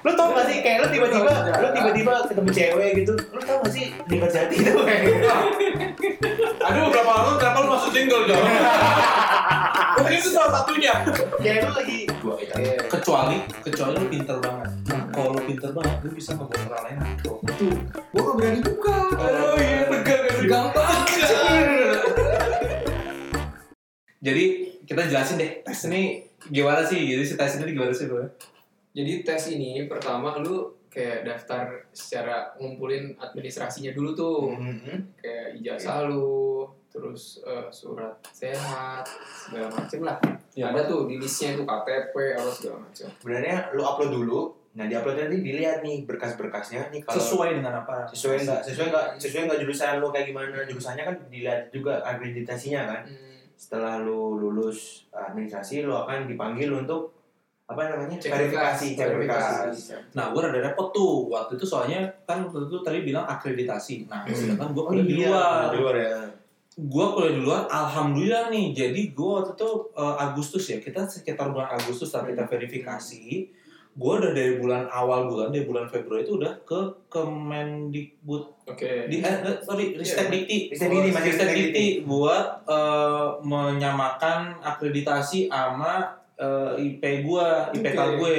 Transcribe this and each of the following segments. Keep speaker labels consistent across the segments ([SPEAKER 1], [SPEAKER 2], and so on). [SPEAKER 1] Lu tau gak sih kayak lu tiba-tiba lu tiba-tiba ketemu cewek gitu. Lu tau gak sih di jati itu kayak gitu.
[SPEAKER 2] Aduh, berapa lama kenapa lu masuk single, Jor? Mungkin itu salah satunya.
[SPEAKER 1] Kayak lu lagi Iya.
[SPEAKER 2] Kecuali, kecuali lu pinter banget. Nah, Kalau lu pinter banget, lu bisa ngebuat orang lain gitu.
[SPEAKER 3] Tuh, gua gak berani buka.
[SPEAKER 2] Oh iya, tegang gitu.
[SPEAKER 3] Gampang.
[SPEAKER 2] Jadi kita jelasin deh tes ini gimana sih gitu sih tes ini gimana sih bro?
[SPEAKER 3] Jadi tes ini pertama lu kayak daftar secara ngumpulin administrasinya dulu tuh. Kayak ijazah lu, terus eh, surat sehat, segala macem lah.
[SPEAKER 2] Ya.
[SPEAKER 3] Ada tuh di listnya itu KTP, apa segala macem.
[SPEAKER 1] sebenarnya lu upload dulu. Nah, di upload nanti dilihat nih berkas-berkasnya nih kalau
[SPEAKER 2] Sesuai dengan apa?
[SPEAKER 1] sesuai nggak sesuai nggak sesuai nggak jurusan lu kayak gimana jurusannya kan dilihat juga akreditasinya kan
[SPEAKER 3] Hmm,
[SPEAKER 1] setelah lu lulus administrasi lu akan dipanggil untuk apa namanya
[SPEAKER 3] cek
[SPEAKER 1] verifikasi
[SPEAKER 3] berkas,
[SPEAKER 1] cek
[SPEAKER 3] verifikasi.
[SPEAKER 1] berkas
[SPEAKER 2] Nah, gue rada repot tuh waktu itu soalnya kan waktu itu tadi bilang akreditasi. Nah,
[SPEAKER 1] Hmm.
[SPEAKER 2] sedangkan gue
[SPEAKER 1] Oh,
[SPEAKER 2] kuliah di
[SPEAKER 1] iya,
[SPEAKER 2] luar.
[SPEAKER 1] di luar ya
[SPEAKER 2] Gue kuliah di luar, alhamdulillah nih. Jadi gue waktu itu eh, Agustus ya, kita sekitar bulan Agustus saat kita verifikasi. Gue udah dari bulan awal bulan, dari bulan Februari itu udah ke Kemendikbud,
[SPEAKER 3] Oke.
[SPEAKER 2] di, eh, eh, sorry, Ristek
[SPEAKER 3] Iya.
[SPEAKER 2] Dikti.
[SPEAKER 1] Ristek Dikti, masih
[SPEAKER 2] Ristek
[SPEAKER 1] Ristek
[SPEAKER 2] Dikti buat eh, menyamakan akreditasi sama eh, IP gue, IPK
[SPEAKER 3] Oke.
[SPEAKER 2] gue.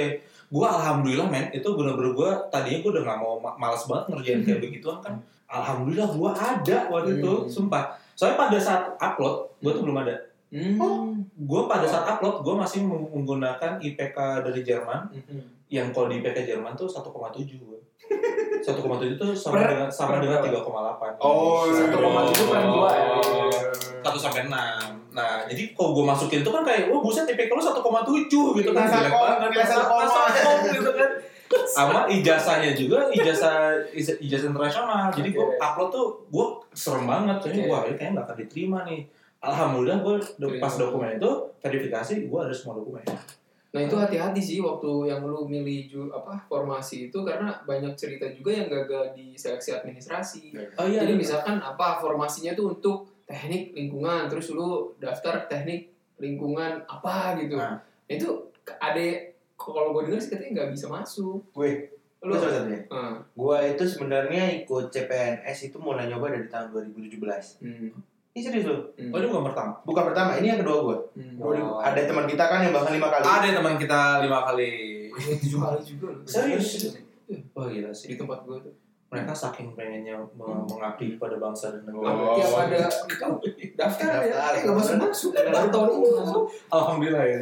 [SPEAKER 2] Gue alhamdulillah men, itu bener-bener gue tadinya gue udah gak mau ma- males banget ngerjain kayak begituan kan. Alhamdulillah gue ada waktu itu,
[SPEAKER 3] Hmm.
[SPEAKER 2] sumpah. Soalnya pada saat upload, gue tuh belum ada.
[SPEAKER 3] Hmm.
[SPEAKER 2] Gue pada saat upload, gue masih menggunakan IPK dari Jerman.
[SPEAKER 3] Mhm.
[SPEAKER 2] Yang kalau di IPK Jerman tuh 1,7 gue. 1,7 tuh sama
[SPEAKER 3] Per-
[SPEAKER 2] dengan sama
[SPEAKER 3] per
[SPEAKER 2] dengan
[SPEAKER 3] berapa?
[SPEAKER 2] 3,8.
[SPEAKER 1] Oh, iya.
[SPEAKER 3] 1,7 per dua ya.
[SPEAKER 2] satu sampai enam. Nah, jadi kalau gue masukin itu kan kayak, wah buset IPK lu satu koma tujuh gitu kan,
[SPEAKER 1] Nasakon,
[SPEAKER 2] jelek banget,
[SPEAKER 1] nasakon.
[SPEAKER 2] nasakon gitu kan. Sama ijazahnya juga, ijazah ijazah ijazah internasional. Jadi gue
[SPEAKER 3] Oke.
[SPEAKER 2] upload tuh, gue serem banget, soalnya
[SPEAKER 3] Oke.
[SPEAKER 2] wah ini kayaknya gak akan diterima nih. Alhamdulillah gue
[SPEAKER 3] Terima.
[SPEAKER 2] pas dokumen itu verifikasi gue ada semua dokumen.
[SPEAKER 3] Nah itu hati-hati sih waktu yang lu milih ju, apa formasi itu karena banyak cerita juga yang gagal di seleksi administrasi.
[SPEAKER 2] Oh iya,
[SPEAKER 3] Jadi
[SPEAKER 2] ada-
[SPEAKER 3] misalkan apa formasinya tuh untuk teknik lingkungan, terus lu daftar teknik lingkungan apa gitu.
[SPEAKER 2] Nah.
[SPEAKER 3] Itu ada kalau gue dengar sih katanya nggak bisa masuk.
[SPEAKER 1] Wih,
[SPEAKER 3] Lu
[SPEAKER 1] lu salah satunya.
[SPEAKER 3] Ah,
[SPEAKER 1] Gua itu sebenarnya ikut CPNS itu mulai nyoba dari tahun 2017.
[SPEAKER 3] hmm,
[SPEAKER 1] Ini serius lu?
[SPEAKER 3] hmm,
[SPEAKER 2] Oh ini bukan pertama.
[SPEAKER 1] Bukan pertama, ini yang kedua gua.
[SPEAKER 3] hmm.
[SPEAKER 2] Wow.
[SPEAKER 1] 2000 Ada teman kita kan yang bahkan lima kali.
[SPEAKER 2] Ada teman kita lima kali.
[SPEAKER 3] Gua tujuh kali juga. lu.
[SPEAKER 2] Serius? Wah
[SPEAKER 3] Di
[SPEAKER 2] gila sih.
[SPEAKER 3] tempat gue tuh.
[SPEAKER 2] Mereka saking pengennya meng- mengabdi pada bangsa dan negara.
[SPEAKER 3] Apa tiap ada itu, daftar ya,
[SPEAKER 1] Daftar.
[SPEAKER 3] eh nggak masuk masuk. Baru tahun ini masuk.
[SPEAKER 2] Alhamdulillah ya.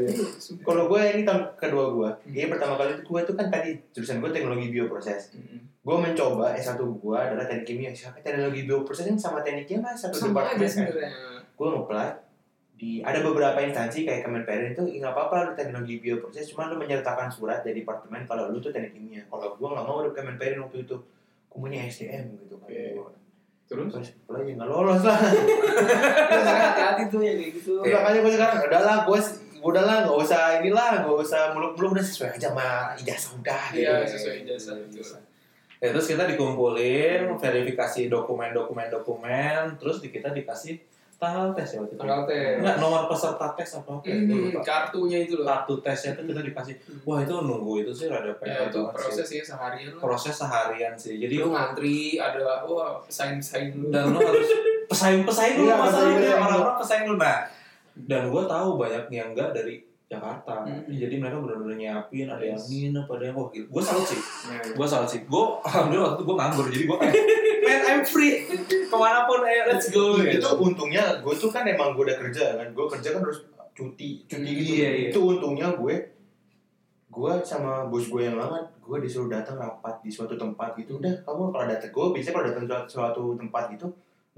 [SPEAKER 1] Kalau gua ini tahun kedua gua. Dia pertama kali itu gua itu kan tadi jurusan gua teknologi bioproses.
[SPEAKER 3] Hmm.
[SPEAKER 1] Gua mencoba S1 gua adalah teknik kimia. Siapa teknologi bioproses kan sama teknik kimia satu
[SPEAKER 3] Sama aja
[SPEAKER 1] departemen kan.
[SPEAKER 2] eh.
[SPEAKER 3] sebenarnya.
[SPEAKER 1] gue ngeplay di ada beberapa instansi kayak Kemenperin itu "Ih, nggak apa-apa lu teknologi bioproses cuma lu menyertakan surat dari departemen kalau lu tuh teknik kimia kalau gue nggak mau udah Kemenperin waktu itu gue maunya SDM gitu kan
[SPEAKER 3] Oke.
[SPEAKER 1] Gua-
[SPEAKER 3] Terus?
[SPEAKER 1] terus gue aja nggak lolos lah
[SPEAKER 3] Terus hati-hati tuh yang kayak gitu.
[SPEAKER 1] Terus makanya gue sekarang udahlah gue udahlah nggak usah inilah nggak usah muluk-muluk udah sesuai aja sama ijazah udah gitu iya.
[SPEAKER 3] Iya, sesuai ijazah. betul.
[SPEAKER 2] Ya, terus kita
[SPEAKER 3] Hmm.
[SPEAKER 2] dikumpulin, verifikasi dokumen-dokumen dokumen, terus di- kita dikasih tanggal tes ya waktu itu.
[SPEAKER 3] Tanggal tes.
[SPEAKER 2] Enggak, nomor peserta tes apa apa. ya,
[SPEAKER 3] Hmm,
[SPEAKER 2] lupa.
[SPEAKER 3] kartunya itu loh.
[SPEAKER 2] Kartu tesnya itu kita dikasih. Wah, itu nunggu itu sih rada
[SPEAKER 3] Ya,
[SPEAKER 2] PR
[SPEAKER 3] itu
[SPEAKER 2] banget sih.
[SPEAKER 3] proses sih seharian lah.
[SPEAKER 2] Proses seharian sih. Jadi
[SPEAKER 3] Lu ngantri, ada wah pesaing-pesaing dulu.
[SPEAKER 2] dan lu harus pesaing-pesaing dulu
[SPEAKER 1] Iya,
[SPEAKER 2] masalahnya
[SPEAKER 1] pesaing-pesaing.
[SPEAKER 2] orang-orang pesaing dulu. Nah, dan gua tahu banyak yang enggak dari Jakarta.
[SPEAKER 3] Hmm.
[SPEAKER 2] Jadi mereka benar-benar nyiapin, ada yang
[SPEAKER 3] Yes.
[SPEAKER 2] nginep, ada yang wah gila. Gua salut sih.
[SPEAKER 3] Nah,
[SPEAKER 2] gue salah sih gue alhamdulillah waktu itu gue nganggur jadi gue kayak man I'm free kemanapun ayo let's go
[SPEAKER 1] Iya, itu
[SPEAKER 2] gitu
[SPEAKER 1] untungnya gue tuh kan emang gue udah kerja kan gue kerja kan harus
[SPEAKER 3] Hmm,
[SPEAKER 1] cuti cuti gitu
[SPEAKER 2] Iya, iya.
[SPEAKER 1] itu untungnya gue gue sama bos gue yang lama gue disuruh datang rapat di suatu tempat gitu udah kamu kalau datang gue biasanya kalau datang suatu, suatu tempat gitu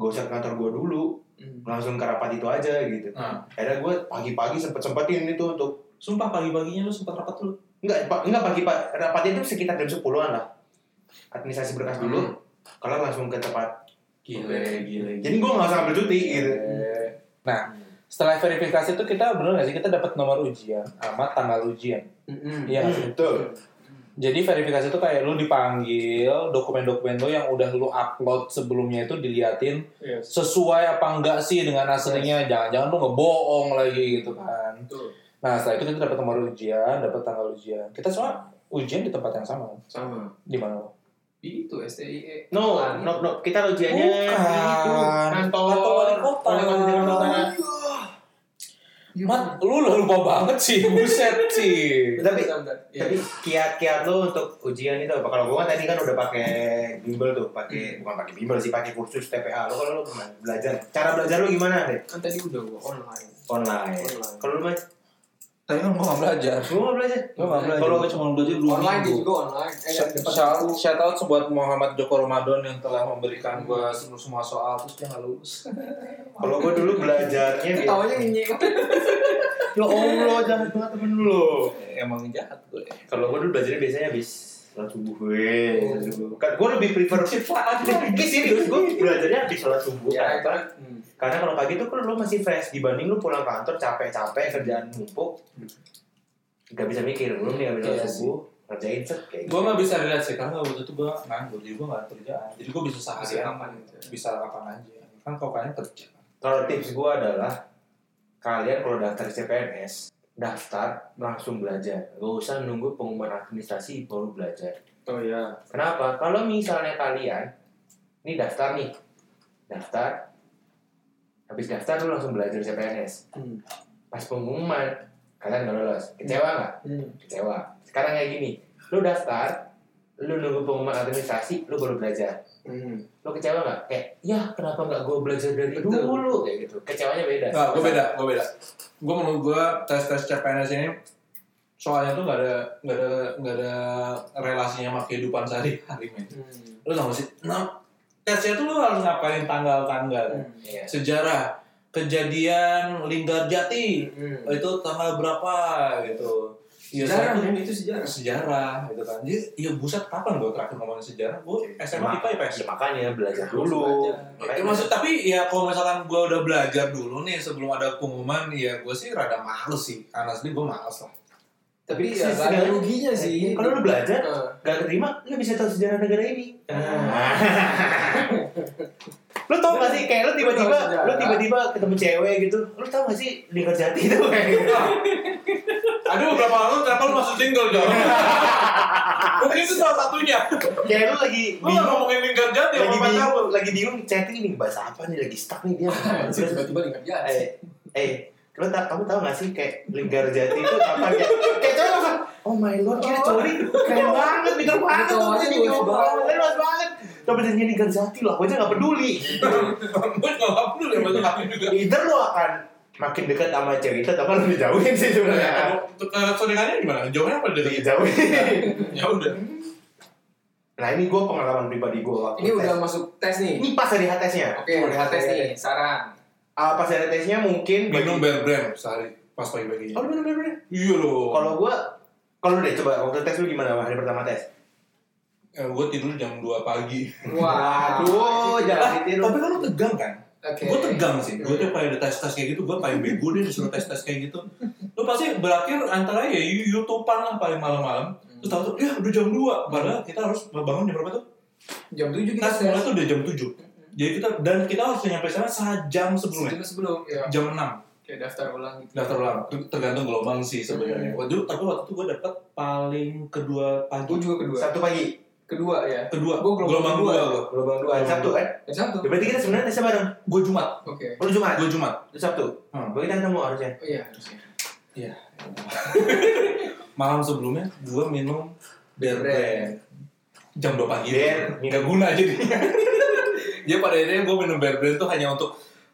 [SPEAKER 1] gak usah ke kantor gue dulu
[SPEAKER 3] hmm.
[SPEAKER 1] langsung ke rapat itu aja gitu
[SPEAKER 2] nah,
[SPEAKER 1] akhirnya gue pagi-pagi sempet sempetin itu untuk
[SPEAKER 2] sumpah pagi-paginya lu sempat rapat lu
[SPEAKER 1] enggak pa- enggak pagi pak rapatnya itu sekitar jam 10-an lah administrasi berkas dulu kalau langsung ke tempat
[SPEAKER 2] gile gile
[SPEAKER 1] jadi gue gak usah ambil cuti gitu
[SPEAKER 2] nah setelah verifikasi itu kita bener gak sih kita dapat nomor ujian sama tanggal ujian
[SPEAKER 3] Hmm.
[SPEAKER 2] iya nggak sih?
[SPEAKER 1] betul
[SPEAKER 2] jadi verifikasi itu kayak lu dipanggil dokumen-dokumen lu yang udah lu upload sebelumnya itu diliatin
[SPEAKER 3] Yes.
[SPEAKER 2] sesuai apa enggak sih dengan aslinya jangan-jangan lu ngebohong lagi gitu kan
[SPEAKER 3] Betul.
[SPEAKER 2] Nah setelah itu kita dapat nomor ujian, dapat tanggal ujian. Kita semua ujian di tempat yang sama
[SPEAKER 3] sama
[SPEAKER 2] di mana lo?
[SPEAKER 3] di itu STIE
[SPEAKER 1] No,
[SPEAKER 3] Bukan.
[SPEAKER 1] no, no. Kita ujiannya itu.
[SPEAKER 2] Kan- kantor wali kota.
[SPEAKER 1] gitu. Wali kota Jakarta Utara.
[SPEAKER 3] Iya,
[SPEAKER 2] Mat, lu udah lupa banget sih, buset sih.
[SPEAKER 1] Tapi
[SPEAKER 3] bentar, bentar. Iya.
[SPEAKER 1] tapi kiat-kiat lo untuk ujian itu apa? Kalau gue kan tadi kan udah pakai bimbel tuh, pakai bukan pakai bimbel sih, pakai kursus TPA. Lo kalau lo gimana? Belajar, cara belajar lo gimana deh?
[SPEAKER 3] kan tadi udah gua online
[SPEAKER 2] Eh,
[SPEAKER 1] Online.
[SPEAKER 3] Online.
[SPEAKER 1] Kalau lo mas,
[SPEAKER 2] Tapi kan gua gak belajar.
[SPEAKER 1] lo nggak belajar?
[SPEAKER 2] Gua gak belajar.
[SPEAKER 1] Kalau
[SPEAKER 2] Kalau gua cuma belajar dua
[SPEAKER 3] online dia
[SPEAKER 2] minggu.
[SPEAKER 3] juga online eh
[SPEAKER 2] Shout-
[SPEAKER 3] dapat
[SPEAKER 2] Shout
[SPEAKER 3] satu.
[SPEAKER 2] shout out buat Muhammad Joko Ramadan yang telah memberikan gua semua semua soal terus dia nggak lulus.
[SPEAKER 1] Kalau gue dulu belajarnya
[SPEAKER 3] ketawanya nyinyir
[SPEAKER 2] Iya,
[SPEAKER 1] Lo Ya Allah jangan banget temen lo.
[SPEAKER 2] Emang jahat gue.
[SPEAKER 1] Kalau gue dulu belajarnya biasanya habis sholat subuh gue. Kan gue lebih prefer
[SPEAKER 2] Ciptaan
[SPEAKER 1] Ini serius, gue belajarnya habis sholat subuh
[SPEAKER 3] ya
[SPEAKER 1] kan.
[SPEAKER 3] kan Hmm.
[SPEAKER 1] Karena kalau pagi tuh kan lo masih fresh dibanding lo pulang kantor capek-capek kerjaan numpuk. Gak bisa mikir, belum nih habis sholat
[SPEAKER 2] Iya
[SPEAKER 1] subuh ngerjain set kayak
[SPEAKER 2] Gue nggak bisa relate sih karena waktu itu gue nganggur jadi gue nggak ada kerjaan jadi gue bisa
[SPEAKER 3] masih
[SPEAKER 2] seharian
[SPEAKER 3] aman gitu
[SPEAKER 2] bisa kapan aja kan kau kalian kerja
[SPEAKER 1] Kalau tips gue adalah kalian kalau daftar CPNS daftar langsung belajar, gak usah nunggu pengumuman administrasi baru belajar.
[SPEAKER 3] oh ya
[SPEAKER 1] Kenapa? Kalau misalnya kalian ini daftar nih, daftar, habis daftar lu langsung belajar CPNS.
[SPEAKER 3] Hmm.
[SPEAKER 1] Pas pengumuman kalian nggak lolos, kecewa nggak?
[SPEAKER 3] Hmm.
[SPEAKER 1] Kecewa. Sekarang kayak gini, lu daftar, lu nunggu pengumuman administrasi, lu baru belajar.
[SPEAKER 3] Hmm.
[SPEAKER 1] Lu kecewa nggak? Kayak, ya kenapa nggak gue belajar dari
[SPEAKER 3] Betul.
[SPEAKER 1] dulu? Kayak gitu. Kecewanya beda.
[SPEAKER 2] nggak gue beda gue beda gue menurut gue tes tes CPNS ini soalnya tuh nggak ada nggak ada nggak ada relasinya sama kehidupan sehari-hari men
[SPEAKER 3] Hmm.
[SPEAKER 2] lu tau gak sih nah, tesnya tuh lu harus ngapalin tanggal-tanggal
[SPEAKER 3] Hmm.
[SPEAKER 1] Iya.
[SPEAKER 2] sejarah kejadian Linggarjati
[SPEAKER 3] Hmm.
[SPEAKER 2] itu tanggal berapa gitu Iya,
[SPEAKER 3] sejarah
[SPEAKER 2] satu-
[SPEAKER 3] men itu sejarah
[SPEAKER 2] sejarah gitu kan jadi ya buset kapan gue terakhir ngomongin sejarah gue SMA IPA IPS
[SPEAKER 1] Ya, makanya belajar
[SPEAKER 3] Harus
[SPEAKER 1] dulu.
[SPEAKER 3] belajar.
[SPEAKER 2] Ya, maksud tapi ya kalau misalkan gue udah belajar dulu nih sebelum ada pengumuman ya gue sih rada males sih honestly gue males lah
[SPEAKER 3] tapi ya
[SPEAKER 1] Sih,
[SPEAKER 3] nggak ada
[SPEAKER 1] sejarah.
[SPEAKER 3] ruginya sih
[SPEAKER 1] Eh, Iya, Kalau lu belajar,
[SPEAKER 3] Eh,
[SPEAKER 1] gak keterima, lu bisa tahu sejarah negara ini. Nah,
[SPEAKER 3] Ah.
[SPEAKER 1] lu tau gak sih kayak lu
[SPEAKER 3] Lu
[SPEAKER 1] tiba-tiba
[SPEAKER 3] tau
[SPEAKER 1] lu
[SPEAKER 3] sejarah.
[SPEAKER 1] tiba-tiba ketemu cewek gitu lu tau gak sih di kerjati itu kayak gitu
[SPEAKER 2] ada beberapa lalu kenapa lu masuk single dong mungkin itu salah satunya
[SPEAKER 1] kayak lu lagi
[SPEAKER 2] lu nggak
[SPEAKER 1] bingung
[SPEAKER 2] ngomongin lingkar jati
[SPEAKER 1] lagi
[SPEAKER 2] sama pacar
[SPEAKER 1] bingung lagi bingung chatting nih bahasa apa nih lagi stuck nih dia
[SPEAKER 3] anjir,
[SPEAKER 1] Terus,
[SPEAKER 3] tiba-tiba ingat ya
[SPEAKER 1] eh eh lu tak kamu tau gak sih kayak lingkar jati itu kapan kayak kayak cowok langsung oh my lord kayak cowok ini keren banget pinter banget
[SPEAKER 3] Cowok
[SPEAKER 1] tuh
[SPEAKER 3] aja
[SPEAKER 1] jadi
[SPEAKER 3] luas banget.
[SPEAKER 1] banget luas banget tapi jadinya lingkar jati lah aku aja gak peduli
[SPEAKER 2] gue nggak perlu ya masuk aku juga
[SPEAKER 1] either lu akan makin dekat sama cewek itu atau lu dijauhin sih sebenarnya
[SPEAKER 2] Eh, Sodekannya gimana? Jauhnya apa dari
[SPEAKER 1] dijauhin
[SPEAKER 2] Ya udah.
[SPEAKER 1] Nah ini gue pengalaman pribadi gue waktu
[SPEAKER 3] ini
[SPEAKER 1] tes. Iya.
[SPEAKER 3] udah masuk tes nih
[SPEAKER 1] Ini pas hari H tesnya
[SPEAKER 3] oke udah tes nih saran
[SPEAKER 1] Ah, Pas hari tesnya mungkin bagi-
[SPEAKER 2] Minum bear brand sehari pas pagi-pagi.
[SPEAKER 1] Oh lu minum bener-bener
[SPEAKER 2] Iya loh.
[SPEAKER 1] Kalau gue Kalau lu deh coba waktu tes lu gimana hari pertama tes?
[SPEAKER 2] Eh, gue tidur jam 2 pagi.
[SPEAKER 3] wah
[SPEAKER 1] Waduh jangan ditiru
[SPEAKER 2] Tapi kan lu tegang kan?
[SPEAKER 3] oke
[SPEAKER 2] Gue tegang sih. Gue tuh paling ada tes-tes kayak gitu. Gue paling bego deh disuruh tes-tes kayak gitu. Lu pasti berakhir antara ya you- YouTube-an lah paling malam-malam. Terus tau tuh, ya udah jam 2. Padahal kita harus bangun jam berapa tuh?
[SPEAKER 3] jam 7 kita
[SPEAKER 2] Tes
[SPEAKER 3] tes
[SPEAKER 2] mulai tuh udah jam 7. Jadi kita, dan kita harus nyampe sana sejam sebelumnya.
[SPEAKER 3] sebelum sebelum ya
[SPEAKER 2] Jam 6.
[SPEAKER 3] kayak daftar ulang gitu
[SPEAKER 2] Daftar ulang. Tergantung gelombang sih
[SPEAKER 3] Hmm.
[SPEAKER 2] sebenarnya. Waktu tapi waktu itu gue dapet paling kedua
[SPEAKER 3] gue
[SPEAKER 2] pagi.
[SPEAKER 3] juga kedua
[SPEAKER 1] Sabtu pagi
[SPEAKER 3] kedua ya
[SPEAKER 2] Kedua.
[SPEAKER 3] Gua gelombang
[SPEAKER 2] Gelombang
[SPEAKER 3] kedua.
[SPEAKER 2] dua.
[SPEAKER 1] Gelombang dua hari Sabtu kan?
[SPEAKER 3] yang satu
[SPEAKER 1] Ya, berarti kita sebenarnya tesnya bareng
[SPEAKER 2] Gue Jumat.
[SPEAKER 3] oke
[SPEAKER 1] Oh, Lu Jumat?
[SPEAKER 2] Gue Jumat.
[SPEAKER 1] Lu Sabtu?
[SPEAKER 2] Hmm.
[SPEAKER 1] Gue kita ketemu harusnya
[SPEAKER 3] oh iya harusnya
[SPEAKER 2] malam sebelumnya gue minum beer
[SPEAKER 3] Beer
[SPEAKER 2] brand jam 2 pagi
[SPEAKER 1] Beer, minum.
[SPEAKER 2] nggak guna jadinya ya pada akhirnya gue minum beer brand tuh hanya untuk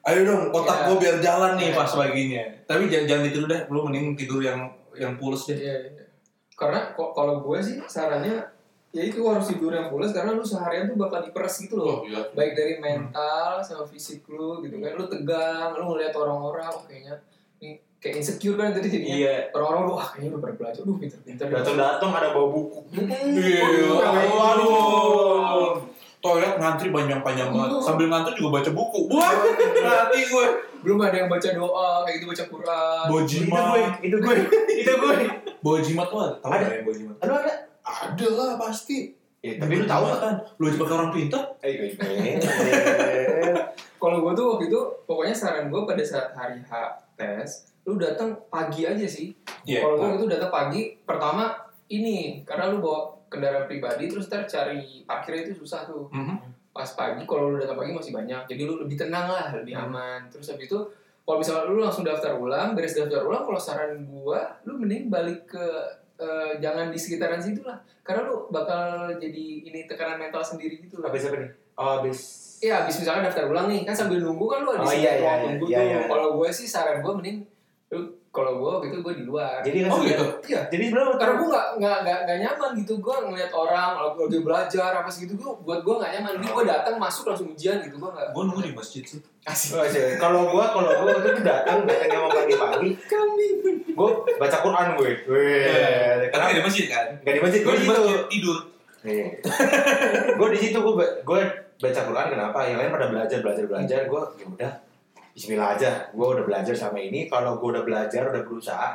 [SPEAKER 2] ayo dong
[SPEAKER 3] Iya.
[SPEAKER 2] otak gue biar jalan nih
[SPEAKER 3] Iya.
[SPEAKER 2] pas paginya tapi jangan jangan tidur deh lu mending tidur yang yang pules deh
[SPEAKER 3] Iya, iya. Karena ko- kalau gue sih sarannya ya itu harus tidur yang pulas karena lu seharian tuh bakal diperas gitu loh.
[SPEAKER 2] gila
[SPEAKER 3] Baik dari mental sama fisik lu gitu kan. Lu tegang, lu ngeliat orang-orang oh, kayaknya ini kayak insecure kan tadi jadinya.
[SPEAKER 1] Iya
[SPEAKER 3] Orang-orang lu wah kayaknya udah pada belajar, duh pinter-pinter.
[SPEAKER 1] Datang-datang ada bawa buku
[SPEAKER 2] iya
[SPEAKER 1] Waduh.
[SPEAKER 2] waduh toilet ngantri panjang-panjang banget
[SPEAKER 3] Iya.
[SPEAKER 2] sambil ngantri juga baca buku wah mati gue
[SPEAKER 3] Belum ada yang baca doa, kayak gitu baca Quran.
[SPEAKER 1] Itu gue,
[SPEAKER 2] bojimat
[SPEAKER 1] itu gue, itu gue
[SPEAKER 2] bojimat tuh ada tau
[SPEAKER 1] Ada.
[SPEAKER 2] nggak yang bojimat
[SPEAKER 1] Aduh ada
[SPEAKER 2] ada lah pasti
[SPEAKER 1] Ya, tapi lu tau gak?
[SPEAKER 2] kan? Lu aja pakai orang pintar.
[SPEAKER 1] Eh, gue- Eh,
[SPEAKER 3] Kalau gue tuh waktu itu pokoknya saran gue pada saat hari H tes, lu datang pagi aja sih.
[SPEAKER 2] Iya.
[SPEAKER 3] Kalau gue itu datang pagi, pertama ini karena lu bawa kendaraan pribadi terus ntar cari parkirnya itu susah tuh
[SPEAKER 2] Mhm.
[SPEAKER 3] pas pagi kalau lu datang pagi masih banyak jadi lu lebih tenang lah lebih aman terus habis itu kalau misalnya lu langsung daftar ulang beres daftar ulang kalau saran gua lu mending balik ke eh, jangan di sekitaran situ lah karena lu bakal jadi ini tekanan mental sendiri gitu lah
[SPEAKER 1] Habis apa nih? Oh, habis
[SPEAKER 3] Iya, abis misalnya daftar ulang nih, kan sambil nunggu kan lu ada
[SPEAKER 1] Oh,
[SPEAKER 3] di situ
[SPEAKER 1] iya, iya,
[SPEAKER 3] ruang
[SPEAKER 1] iya,
[SPEAKER 3] nunggu
[SPEAKER 1] iya,
[SPEAKER 3] tuh.
[SPEAKER 1] iya.
[SPEAKER 3] Kalau gue sih saran gue mending lu kalau gue waktu itu gue di luar.
[SPEAKER 1] Jadi kan
[SPEAKER 2] Oh,
[SPEAKER 1] sebenarnya-
[SPEAKER 2] gitu.
[SPEAKER 3] Iya.
[SPEAKER 1] Jadi sebenarnya
[SPEAKER 3] Karena gue nggak nggak nggak nggak nyaman gitu, gue ngeliat orang kalau lagi belajar apa segitu gue buat gue nggak nyaman. Jadi gue datang masuk langsung ujian gitu, gue nggak.
[SPEAKER 2] Gue nunggu di masjid sih.
[SPEAKER 3] Kasih.
[SPEAKER 1] Oh, sih. kalau gua kalau gua waktu itu datang datangnya mau pagi-pagi,
[SPEAKER 3] Kami.
[SPEAKER 1] gua baca Quran gue. Weh.
[SPEAKER 2] Karena di masjid kan. iya.
[SPEAKER 1] Gak di masjid
[SPEAKER 2] Gue di
[SPEAKER 1] gue di situ.
[SPEAKER 2] masjid tidur.
[SPEAKER 1] gue di situ gue gue baca Quran kenapa? Yang lain pada belajar belajar belajar. Gue ya udah Bismillah aja. Gue udah belajar sama ini. Kalau gue udah belajar udah berusaha.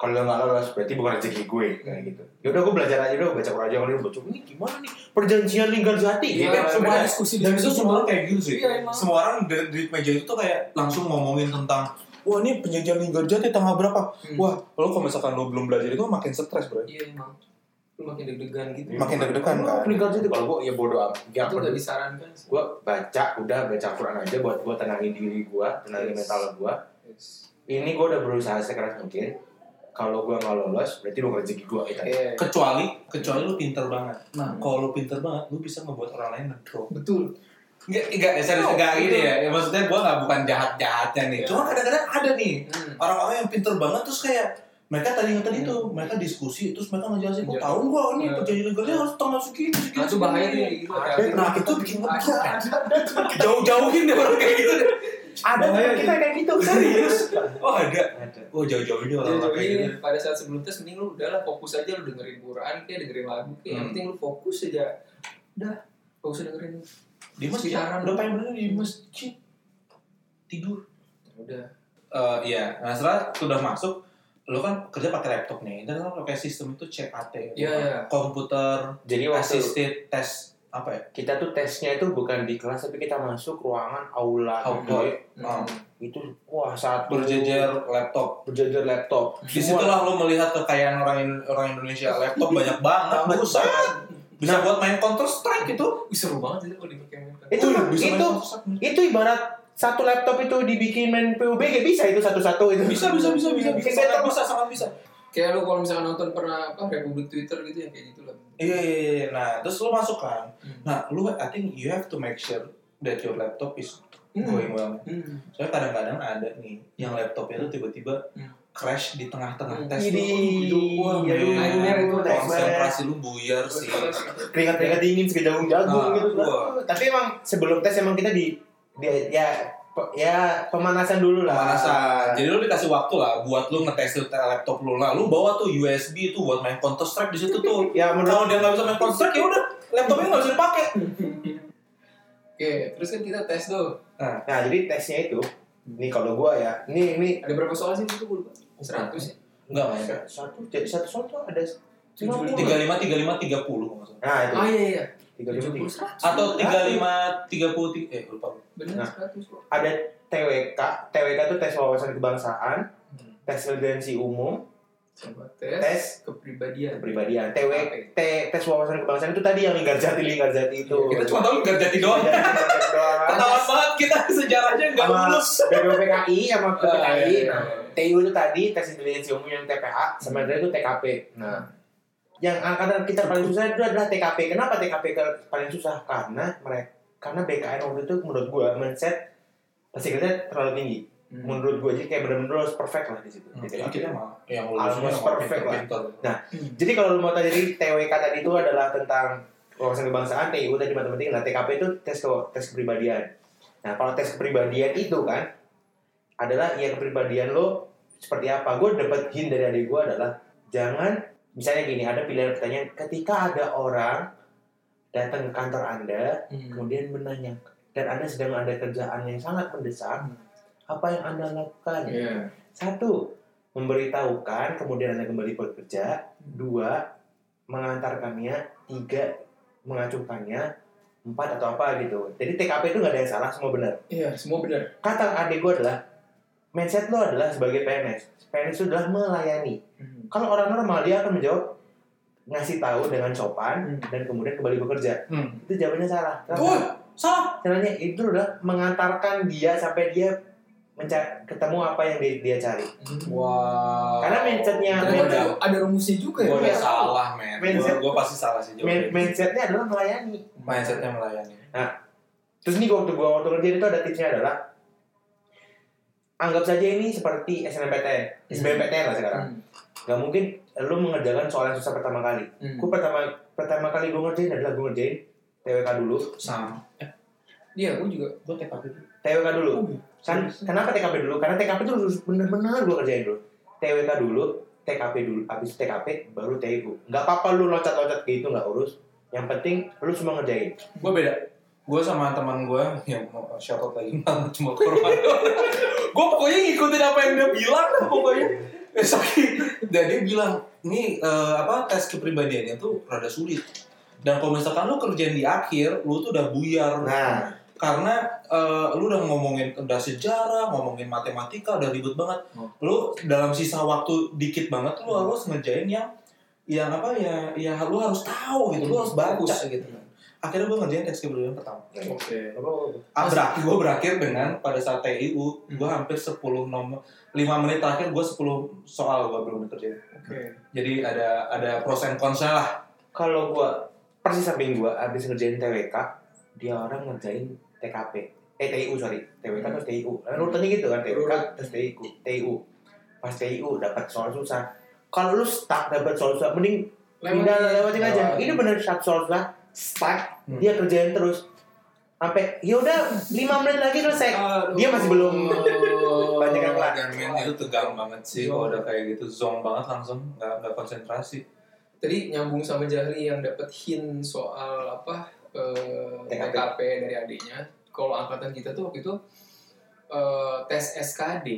[SPEAKER 1] Kalau nggak lolos berarti bukan rezeki gue kayak gitu. Ya udah gue belajar aja udah gua baca Quran aja kalau baca ini gimana nih perjanjian lingkar jati
[SPEAKER 3] Iya,
[SPEAKER 1] gitu.
[SPEAKER 3] semua
[SPEAKER 2] bener.
[SPEAKER 3] diskusi
[SPEAKER 2] Dan itu semua orang kayak gitu sih.
[SPEAKER 3] Iya, emang.
[SPEAKER 2] Semua orang dari, dari meja itu tuh kayak langsung ngomongin tentang Wah ini penjajahan lingkar jati tanggal berapa?
[SPEAKER 3] Hmm.
[SPEAKER 2] Wah lo kalau misalkan lo belum belajar itu makin stres bro.
[SPEAKER 3] Iya emang. Lu makin deg-degan gitu.
[SPEAKER 2] Makin deg-degan kan.
[SPEAKER 1] Oh, Lingkar jati kalau gue ya bodo amat. Ya,
[SPEAKER 3] Itu nggak disarankan. sih.
[SPEAKER 1] gue baca udah baca Quran aja buat gue tenangin diri gue, tenangin
[SPEAKER 3] Yes.
[SPEAKER 1] mental gue. Ini gue udah berusaha sekeras mungkin. Kalau gue nggak lolos, berarti bukan rezeki gitu. gue kita.
[SPEAKER 3] Iya.
[SPEAKER 2] Kecuali kecuali lo pinter banget. Nah kalau lo pinter banget lo bisa ngebuat orang lain ngedrop.
[SPEAKER 3] Betul.
[SPEAKER 2] Enggak, enggak, serius,
[SPEAKER 3] Oh,
[SPEAKER 2] enggak
[SPEAKER 3] gitu.
[SPEAKER 2] gini ya. ya maksudnya gue nggak bukan jahat-jahatnya nih.
[SPEAKER 3] Ya.
[SPEAKER 2] Cuma kadang-kadang ada nih
[SPEAKER 3] Hmm.
[SPEAKER 2] orang-orang yang pinter banget terus kayak mereka tadi yang tadi tuh mereka diskusi terus mereka ngejelasin kok tahun gua ini
[SPEAKER 3] Ya.
[SPEAKER 2] perjanjian negaranya harus tanggal segini segini
[SPEAKER 3] Nah, itu bahaya
[SPEAKER 2] segini."
[SPEAKER 3] nih. gitu.
[SPEAKER 2] Ada, Nah itu bikin
[SPEAKER 3] Ada,
[SPEAKER 2] ngedrop
[SPEAKER 3] ada.
[SPEAKER 2] Jauh-jauhin deh orang kayak gitu deh.
[SPEAKER 1] Ada
[SPEAKER 2] Bahaya
[SPEAKER 1] teman kita
[SPEAKER 2] nih.
[SPEAKER 1] kayak gitu
[SPEAKER 2] Serius? Oh ada
[SPEAKER 1] Ada.
[SPEAKER 2] Oh jauh-jauhin deh
[SPEAKER 3] Jadi
[SPEAKER 2] orang kayak gitu
[SPEAKER 3] ini pada saat sebelum tes mending lu udahlah fokus aja lu dengerin Quran kayak dengerin lagu kayak yang
[SPEAKER 2] Hmm.
[SPEAKER 3] penting lu fokus aja. Udah, gak usah dengerin.
[SPEAKER 2] Di masjid
[SPEAKER 3] Sekarang.
[SPEAKER 2] Udah pengen bener di masjid Tidur
[SPEAKER 3] Udah.
[SPEAKER 2] Eh, Iya Nah setelah udah masuk Lo kan kerja pakai laptop nih Dan lo pakai sistem itu CAT
[SPEAKER 3] Iya, iya.
[SPEAKER 2] Komputer
[SPEAKER 1] Jadi waktu
[SPEAKER 2] Assisted Test Apa ya
[SPEAKER 1] kita tuh tesnya itu bukan di kelas, tapi kita masuk ruangan aula.
[SPEAKER 2] Outdoor.
[SPEAKER 1] gede.
[SPEAKER 2] Hmm.
[SPEAKER 1] Itu wah satu
[SPEAKER 2] Berjejer laptop
[SPEAKER 1] berjejer laptop. Semua-
[SPEAKER 2] Disitulah lo melihat kekayaan orang In- orang Indonesia laptop banyak banget,
[SPEAKER 1] Banget.
[SPEAKER 2] buset. Bisa buat main Counter Strike itu. Iya,
[SPEAKER 3] Wih, seru banget itu kalau dipakai mental.
[SPEAKER 1] Itu
[SPEAKER 2] Wih,
[SPEAKER 1] mah,
[SPEAKER 2] bisa main
[SPEAKER 1] itu.
[SPEAKER 2] Counter Strike.
[SPEAKER 1] itu ibarat satu laptop itu dibikin main PUBG ya bisa itu satu-satu itu.
[SPEAKER 2] Bisa bisa bisa bisa bisa
[SPEAKER 1] Kayak
[SPEAKER 2] sangat
[SPEAKER 1] battle.
[SPEAKER 2] bisa sangat bisa.
[SPEAKER 3] Kayak lu kalau misalnya nonton pernah apa Republik Twitter gitu yang kayak gitu lah.
[SPEAKER 2] Iya iya iya. Nah terus lo masuk kan.
[SPEAKER 3] Hmm.
[SPEAKER 2] Nah lo I think you have to make sure that your laptop is going well.
[SPEAKER 3] Hmm.
[SPEAKER 2] Soalnya kadang-kadang ada nih yang laptopnya tuh tiba-tiba
[SPEAKER 3] Hmm.
[SPEAKER 2] crash di tengah-tengah
[SPEAKER 3] Hmm.
[SPEAKER 2] tes.
[SPEAKER 1] Jadi,
[SPEAKER 2] Wah,
[SPEAKER 1] iya,
[SPEAKER 2] men.
[SPEAKER 3] nightmare itu, nightmare.
[SPEAKER 2] konsentrasi lu buyar sih.
[SPEAKER 1] keringat-keringat dingin sebagai jagung jagung
[SPEAKER 2] Nah,
[SPEAKER 1] gitu kan.
[SPEAKER 2] gua.
[SPEAKER 1] Tapi emang sebelum tes emang kita di, di ya pe- ya pemanasan dulu lah.
[SPEAKER 2] pemanasan. Jadi lu dikasih waktu lah buat lu ngetes lu laptop lu lah. Lu bawa tuh USB tuh buat main Counter Strike di situ tuh.
[SPEAKER 1] Ya
[SPEAKER 2] Kalau
[SPEAKER 1] menurut
[SPEAKER 2] dia nggak bisa main Counter Strike ya udah laptopnya nggak bisa dipakai.
[SPEAKER 3] Oke, terus kan kita tes tuh.
[SPEAKER 1] Nah, jadi tesnya itu nih kalau gua ya, nih ini
[SPEAKER 3] Ada berapa soal sih itu gue lupa? 100 ya?
[SPEAKER 2] Enggak main. kan.
[SPEAKER 1] satu jadi satu soal ada
[SPEAKER 3] Tujuh,
[SPEAKER 2] Tiga
[SPEAKER 1] 50.
[SPEAKER 2] lima tiga lima tiga puluh
[SPEAKER 1] Nah, itu.
[SPEAKER 3] Ah iya iya.
[SPEAKER 1] 35.
[SPEAKER 3] 100.
[SPEAKER 2] atau tiga lima tiga puluh eh lupa.
[SPEAKER 3] Bener
[SPEAKER 1] Nah.
[SPEAKER 3] 100 kok.
[SPEAKER 1] Ada TWK, TWK itu tes wawasan kebangsaan,
[SPEAKER 2] Hmm.
[SPEAKER 1] tes militansi umum,
[SPEAKER 3] Coba tes,
[SPEAKER 1] Tes.
[SPEAKER 3] kepribadian.
[SPEAKER 1] kepribadian. TW, T- tes wawasan kebangsaan itu tadi yang lingkar jati lingkar jati itu.
[SPEAKER 2] Iya, Kita cuma tahu nggak jadi doang.
[SPEAKER 1] Jadi, doang.
[SPEAKER 2] Ketahuan banget kita sejarahnya nggak
[SPEAKER 1] Sama-
[SPEAKER 2] lulus.
[SPEAKER 1] BPPKI
[SPEAKER 2] Ah,
[SPEAKER 1] sama
[SPEAKER 2] iya,
[SPEAKER 1] PPKI.
[SPEAKER 3] gitu?
[SPEAKER 2] iya.
[SPEAKER 1] Nah, TU itu tadi tes intelijensi umum yang TPA,
[SPEAKER 2] Hmm.
[SPEAKER 1] sebenarnya itu TKP. Nah, yang angkatan kita paling susah itu adalah TKP. Kenapa TKP ke- paling susah? Karena mereka karena BKN waktu itu menurut gua mindset pasti kerja terlalu tinggi.
[SPEAKER 3] Hmm.
[SPEAKER 1] Menurut gua jadi kayak benar-benar harus perfect lah di situ. di
[SPEAKER 2] Jadi
[SPEAKER 1] TKP.
[SPEAKER 2] Hmm, kita mah yang
[SPEAKER 1] Almost
[SPEAKER 2] yang orang
[SPEAKER 1] perfect lah.
[SPEAKER 2] pinter-pinter.
[SPEAKER 1] Jadi kalau lu mau tahu jadi TWK tadi itu adalah tentang wawasan kebangsaan, TU tadi matematika, nah TKP itu tes ke- tes kepribadian. Nah kalau tes kepribadian itu kan adalah ya kepribadian lo seperti apa. Gue dapat hint dari adik gue adalah jangan misalnya gini ada pilihan pertanyaan ketika ada orang datang ke kantor anda
[SPEAKER 3] Hmm.
[SPEAKER 1] kemudian menanya dan anda sedang ada kerjaan yang sangat mendesak
[SPEAKER 3] Hmm.
[SPEAKER 1] apa yang anda lakukan?
[SPEAKER 3] Iya.
[SPEAKER 1] Satu, memberitahukan kemudian Anda kembali bekerja. Dua, mengantarkannya. Tiga, mengacuhkannya. Empat atau apa gitu. Jadi TKP itu nggak ada yang salah, semua benar.
[SPEAKER 3] Iya, semua benar.
[SPEAKER 1] Kata adik gue adalah,
[SPEAKER 3] Hmm.
[SPEAKER 1] mindset lo adalah sebagai PNS. PNS itu adalah melayani. Kalau orang normal dia akan menjawab, ngasih tahu dengan sopan
[SPEAKER 2] Hmm.
[SPEAKER 1] dan kemudian kembali bekerja
[SPEAKER 2] Hmm.
[SPEAKER 1] itu jawabannya salah
[SPEAKER 2] Tuh,
[SPEAKER 1] Karena
[SPEAKER 2] salah.
[SPEAKER 1] caranya itu udah mengantarkan dia sampai dia menca- ketemu apa yang dia, dia cari
[SPEAKER 2] Wah.
[SPEAKER 1] Karena mindsetnya
[SPEAKER 2] gue
[SPEAKER 3] Ternyata
[SPEAKER 2] udah,
[SPEAKER 3] tuh ada rumusnya juga ya.
[SPEAKER 2] gua udah
[SPEAKER 1] Iya.
[SPEAKER 2] salah, men.
[SPEAKER 1] Mindset-
[SPEAKER 2] Gue pasti salah sih
[SPEAKER 1] Main-
[SPEAKER 2] jawabannya.
[SPEAKER 1] mindsetnya adalah melayani
[SPEAKER 2] Mindsetnya melayani.
[SPEAKER 1] terus nih waktu gua waktu kerja itu ada tipsnya adalah anggap saja ini seperti SNMPTN SBMPTN lah sekarang
[SPEAKER 3] Hmm.
[SPEAKER 1] nggak mungkin lu mengerjakan soal yang susah pertama kali
[SPEAKER 3] Hmm.
[SPEAKER 1] Gue pertama pertama kali gue ngerjain adalah gue ngerjain TWK dulu,
[SPEAKER 2] Sama.
[SPEAKER 3] Iya, gue juga.
[SPEAKER 2] Gue TKP dulu.
[SPEAKER 1] TWK dulu.
[SPEAKER 3] Oh,
[SPEAKER 1] Kan
[SPEAKER 3] serius?
[SPEAKER 1] kenapa TKP dulu? Karena TKP itu harus bener-bener gue kerjain dulu. TWK dulu, TKP dulu, habis TKP baru TU. Nggak apa-apa lu loncat-loncat gitu nggak urus. Yang penting lu semua ngerjain.
[SPEAKER 2] Gue beda. Gue sama teman gue yang mau shout out lagi malah cuma korban. gue pokoknya ngikutin apa yang dia bilang lah pokoknya. Eh, sorry. Dan dia bilang, ini eh, apa tes kepribadiannya tuh rada sulit. Dan kalau misalkan lu kerjaan di akhir, lu tuh udah buyar.
[SPEAKER 1] Nah,
[SPEAKER 2] karena eh, lu udah ngomongin udah sejarah, ngomongin matematika, udah ribet banget.
[SPEAKER 3] Hmm.
[SPEAKER 2] Lu dalam sisa waktu dikit banget, lu harus ngejain yang yang apa ya, ya lu harus tahu gitu, lu harus bagus gitu kan. Akhirnya gue ngerjain tes kepribadian pertama.
[SPEAKER 3] Oke.
[SPEAKER 2] Ah, berakhir, gue berakhir dengan pada saat TIU, gue hampir 10 nomor, 5 menit terakhir gue 10 soal gue belum dikerjain.
[SPEAKER 3] Oke.
[SPEAKER 2] Jadi ada ada pros and cons lah.
[SPEAKER 1] kalau gue persis samping gue habis ngerjain TWK, dia orang ngerjain TKP. Eh TIU sorry, TWK terus TIU. Lalu urutannya gitu kan, TWK terus TIU, TIU. Pas TIU dapat soal susah. Kalau lu stuck dapat soal susah, mending pindah lewatin Oh. aja
[SPEAKER 2] Lewatin.
[SPEAKER 1] ini bener shot soal lah stuck
[SPEAKER 2] Hmm.
[SPEAKER 1] dia kerjain terus sampai ya udah lima menit lagi selesai
[SPEAKER 3] Aduh.
[SPEAKER 1] Dia masih belum banyak yang kelar.
[SPEAKER 2] Dan men, itu tegang banget sih kalau udah kayak gitu zonk banget langsung nggak nggak konsentrasi
[SPEAKER 3] Tadi nyambung sama Jahli yang dapat hint soal apa eh,
[SPEAKER 1] TKP.
[SPEAKER 3] TKP dari adiknya. Kalau angkatan kita tuh waktu itu eh, tes SKD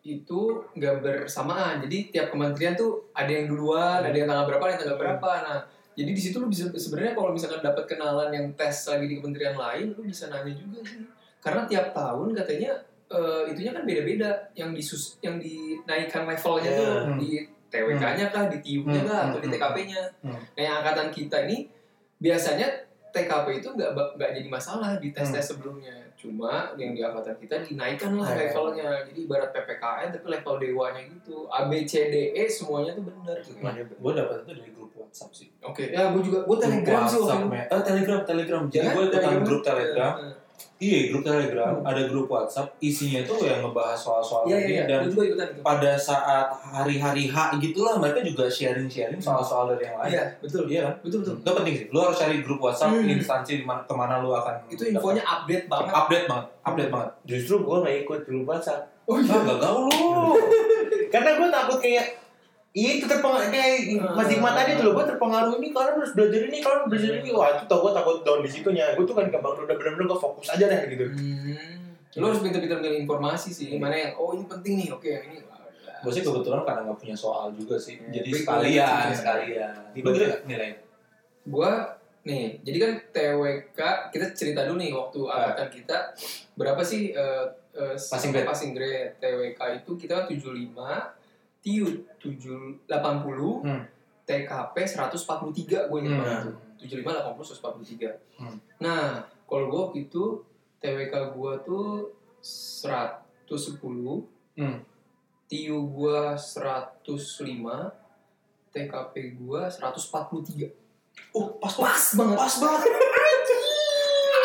[SPEAKER 3] itu nggak bersamaan. Jadi tiap kementerian tuh ada yang duluan, ada yang tanggal berapa, ada yang tanggal berapa. Nah, jadi di situ lu bisa sebenarnya kalau misalkan dapat kenalan yang tes lagi di kementerian lain, lu bisa nanya juga sih. Karena tiap tahun katanya eh, itunya kan beda-beda yang disus yang dinaikkan levelnya tuh
[SPEAKER 2] Hmm.
[SPEAKER 3] di TWK-nya kah, di TIU-nya
[SPEAKER 2] Hmm,
[SPEAKER 3] kah, atau
[SPEAKER 2] hmm,
[SPEAKER 3] di
[SPEAKER 2] hmm.
[SPEAKER 3] TKP-nya.
[SPEAKER 2] Hmm.
[SPEAKER 3] Nah, yang angkatan kita ini biasanya TKP itu nggak ba- nggak jadi masalah di tes-tes sebelumnya. Cuma yang di angkatan kita dinaikkan lah
[SPEAKER 2] Hmm. Iya.
[SPEAKER 3] levelnya. Jadi ibarat PPKN tapi level dewanya gitu. A B C D E semuanya tuh bener gitu. Oke,
[SPEAKER 2] gue dapat itu dari grup WhatsApp sih
[SPEAKER 3] ya gue juga gue Telegram sih waktu
[SPEAKER 2] WhatsApp,
[SPEAKER 3] itu.
[SPEAKER 2] men. eh telegram telegram jadi
[SPEAKER 3] Ya,
[SPEAKER 2] gue ikutan
[SPEAKER 3] Telegram.
[SPEAKER 2] grup telegram
[SPEAKER 3] Iya,
[SPEAKER 2] iya grup telegram
[SPEAKER 3] Hmm.
[SPEAKER 2] ada grup WhatsApp isinya tuh yang ngebahas soal-soal
[SPEAKER 3] Iya,
[SPEAKER 2] ini
[SPEAKER 3] iya,
[SPEAKER 2] dan
[SPEAKER 3] gue juga ikutan itu.
[SPEAKER 2] pada saat hari-hari H gitulah mereka juga sharing-sharing soal-soal dari yang lain
[SPEAKER 3] Hmm. Iya, betul.
[SPEAKER 2] iya kan
[SPEAKER 3] Betul, betul.
[SPEAKER 2] itu penting sih lu harus cari grup WhatsApp
[SPEAKER 3] Hmm.
[SPEAKER 2] instansi di mana- kemana lu akan
[SPEAKER 3] Itu infonya update banget.
[SPEAKER 2] update banget update banget
[SPEAKER 1] justru gue nggak ikut dulu pasar
[SPEAKER 3] Oh
[SPEAKER 2] ah gak gaul lu
[SPEAKER 1] karena gue takut kayak Iya itu terpengaruh kayak masih mata tadi tuh gue terpengaruh ini kalian harus belajar ini kalian harus belajar ini wah itu tau gue takut down di situnya gue tuh kan gampang udah bener-bener gue fokus aja deh gitu
[SPEAKER 3] Hmm. Lo harus pintar-pintar milih informasi sih. Mana yang oh ini penting nih, oke yang ini.
[SPEAKER 2] Gue Iya. sih kebetulan karena nggak punya soal juga sih,
[SPEAKER 3] Hmm.
[SPEAKER 2] jadi
[SPEAKER 3] Quick
[SPEAKER 2] sekalian,
[SPEAKER 3] quiz.
[SPEAKER 2] sekalian.
[SPEAKER 1] Iya.
[SPEAKER 2] Lu gitu nggak nilai?
[SPEAKER 3] Gue nih, jadi kan TWK kita cerita dulu nih waktu angkatan kita berapa sih eh, eh,
[SPEAKER 2] Ah. Passing grade.
[SPEAKER 3] passing grade TWK itu kita kan 75 TIU 780
[SPEAKER 2] Hmm.
[SPEAKER 3] TKP 143 gue ingat
[SPEAKER 2] Hmm.
[SPEAKER 3] banget tuh. 75 80 143
[SPEAKER 2] Hmm.
[SPEAKER 3] nah kalau gue waktu itu TWK gue tuh 110
[SPEAKER 2] Hmm.
[SPEAKER 3] TIU gua 105, TKP gua 143.
[SPEAKER 2] Uh, pas banget,
[SPEAKER 3] Pas banget.
[SPEAKER 2] pas banget.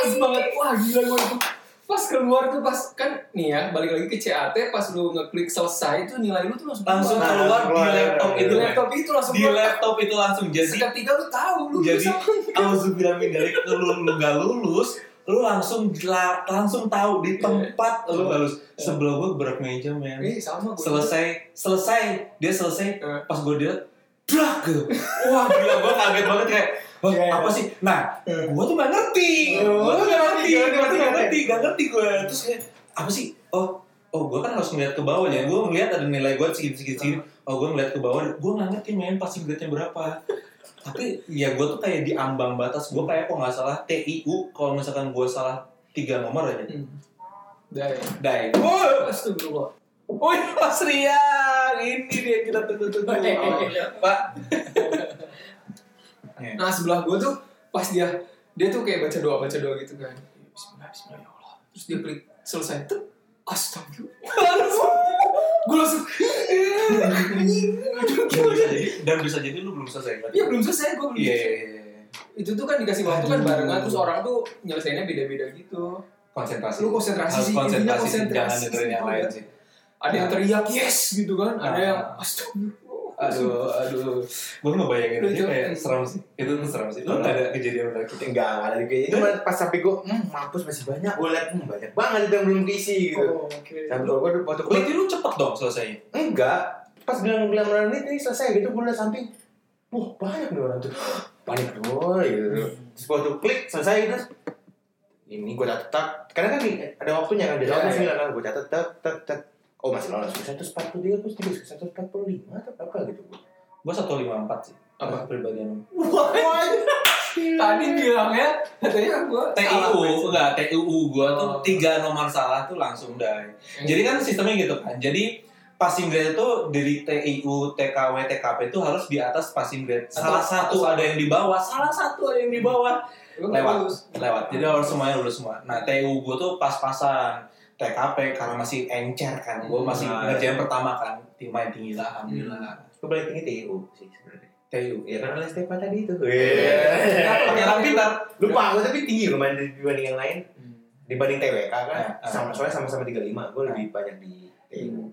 [SPEAKER 3] Pas banget. Wah, gila gua itu. Pas keluar tuh pas kan nih ya, balik lagi ke CAT pas lu ngeklik selesai tuh nilai lu tuh langsung
[SPEAKER 2] Langsung
[SPEAKER 1] Nah,
[SPEAKER 3] keluar.
[SPEAKER 2] keluar di
[SPEAKER 1] keluar.
[SPEAKER 2] laptop
[SPEAKER 3] Di
[SPEAKER 2] itu,
[SPEAKER 3] laptop itu langsung
[SPEAKER 2] di laptop itu langsung jadi.
[SPEAKER 3] Seketika lu tahu lu
[SPEAKER 2] Jadi-
[SPEAKER 3] bisa
[SPEAKER 2] Alhamdulillah dari lu lu nggak lulus, lu langsung la- langsung tahu di tempat lu nggak lulus.
[SPEAKER 3] Iya.
[SPEAKER 2] Sebelah gue berat meja men.
[SPEAKER 3] Nih, sama gua.
[SPEAKER 2] Selesai, selesai, dia selesai.
[SPEAKER 3] Iya.
[SPEAKER 2] Pas gue dia, drak gitu. Wah gila gue kaget banget kayak. Wah,
[SPEAKER 3] Iya, iya.
[SPEAKER 2] apa sih? Nah,
[SPEAKER 3] Eh,
[SPEAKER 2] gue tuh gak ngerti
[SPEAKER 1] Oh,
[SPEAKER 2] gue tuh gak ngerti
[SPEAKER 3] iya,
[SPEAKER 1] ngerti,
[SPEAKER 2] gak ngerti
[SPEAKER 1] ngerti,
[SPEAKER 2] gak ngerti gak ngerti gue terus kayak apa sih oh oh gue kan harus ngeliat ke bawah ya gue ngeliat ada nilai gue segini segini segini
[SPEAKER 3] Iya.
[SPEAKER 2] oh gue ngeliat ke bawah gue gak ngerti main passing grade-nya berapa tapi ya gue tuh kayak di ambang batas gue kayak kok nggak salah TIU kalau misalkan gue salah tiga nomor aja
[SPEAKER 3] hmm. Dah. ya.
[SPEAKER 2] dai oh
[SPEAKER 3] Astagfirullah.
[SPEAKER 2] oh ya, Mas Rian ini dia kita tunggu tunggu
[SPEAKER 3] Oke.
[SPEAKER 2] pak
[SPEAKER 1] Iya.
[SPEAKER 3] Nah sebelah gue tuh pas dia dia tuh kayak baca doa baca doa gitu kan. Bismillah Bismillah ya Allah. Terus dia klik selesai tuh Astagfirullah. gue langsung. "Eh, Aduh,
[SPEAKER 2] Dan
[SPEAKER 3] gimana?
[SPEAKER 2] bisa jadi dan bisa jadi lu belum selesai kan?
[SPEAKER 3] kan- Iya belum selesai gue belum.
[SPEAKER 2] Iya,
[SPEAKER 3] selesai.
[SPEAKER 2] iya, iya.
[SPEAKER 3] Itu tuh kan dikasih waktu kan
[SPEAKER 2] Aduh.
[SPEAKER 3] barengan terus orang tuh nyelesainnya beda-beda gitu.
[SPEAKER 2] Konsentrasi.
[SPEAKER 3] Lu konsentrasi
[SPEAKER 2] Harus
[SPEAKER 3] sih, intinya
[SPEAKER 2] konsentrasi,
[SPEAKER 3] konsentrasi
[SPEAKER 2] jangan
[SPEAKER 3] sih,
[SPEAKER 2] dengerin yang
[SPEAKER 3] tau
[SPEAKER 2] lain
[SPEAKER 3] gak?
[SPEAKER 2] sih.
[SPEAKER 3] Ada yang teriak yes gitu kan, ada
[SPEAKER 2] Iya. Ah.
[SPEAKER 3] yang astagfirullah.
[SPEAKER 2] Aduh, aduh. Gue ngebayangin
[SPEAKER 3] Lu
[SPEAKER 2] aja
[SPEAKER 3] coba-
[SPEAKER 2] kayak serem sih. Itu tuh serem sih. Lu nggak ada kejadian menarik gitu.
[SPEAKER 1] Enggak, enggak ada kayaknya. Cuma pas sampai gue, hmm, mampus masih banyak. Gue liat, hmm, banyak banget itu yang belum diisi gitu.
[SPEAKER 3] Oh, Oke.
[SPEAKER 1] Sampai gue udah foto
[SPEAKER 2] Berarti lu cepet dong selesainya.
[SPEAKER 1] enggak. Pas bilang bilang bilang menit ini selesai gitu, gue liat samping. Wah banyak nih orang tuh. Panik gue gitu. Terus waktu klik selesai gitu. Ini gue catat, tak. karena kan ada waktunya kan, di
[SPEAKER 3] Iya,
[SPEAKER 1] dalam
[SPEAKER 3] iya.
[SPEAKER 1] sembilan kan, gue catat, tak, tak, tak. Oh masih lolos, seratus empat puluh tiga, terus tiga seratus empat puluh lima atau berapa gitu.
[SPEAKER 2] Gue 154 sih.
[SPEAKER 3] Apa?
[SPEAKER 2] Kepribadian.
[SPEAKER 3] Tadi bilangnya katanya gue
[SPEAKER 2] TIU, enggak, TIU gue tuh
[SPEAKER 3] Oh.
[SPEAKER 2] tiga nomor salah tuh langsung dari. Jadi kan sistemnya gitu kan. Jadi passing grade itu dari TIU, TKW, TKP itu harus di atas passing grade. Salah
[SPEAKER 3] Atau-
[SPEAKER 2] satu
[SPEAKER 3] atau-
[SPEAKER 2] ada yang di bawah, salah satu ada yang di bawah. lewat.
[SPEAKER 3] lewat.
[SPEAKER 2] Lewat. Jadi harus semuanya lulus semua. Nah, TIU gue tuh pas-pasan. TKP karena masih encer kan, gue masih
[SPEAKER 1] Nah. Hmm.
[SPEAKER 2] ngerjain pertama kan, tim main tinggi lah, alhamdulillah.
[SPEAKER 1] Gue paling tinggi TU sih sebenarnya.
[SPEAKER 2] TIU.
[SPEAKER 1] Ya karena les TPA tadi itu.
[SPEAKER 2] Pakai
[SPEAKER 3] Iya.
[SPEAKER 1] Iya.
[SPEAKER 2] orang pintar.
[SPEAKER 1] Lupa aku tapi tinggi lumayan dibanding yang lain.
[SPEAKER 3] Hmm.
[SPEAKER 1] dibanding
[SPEAKER 3] Iya,
[SPEAKER 2] Eh,
[SPEAKER 1] TWK kan
[SPEAKER 2] eh.
[SPEAKER 1] sama soalnya sama-sama 35 gue lebih banyak di TU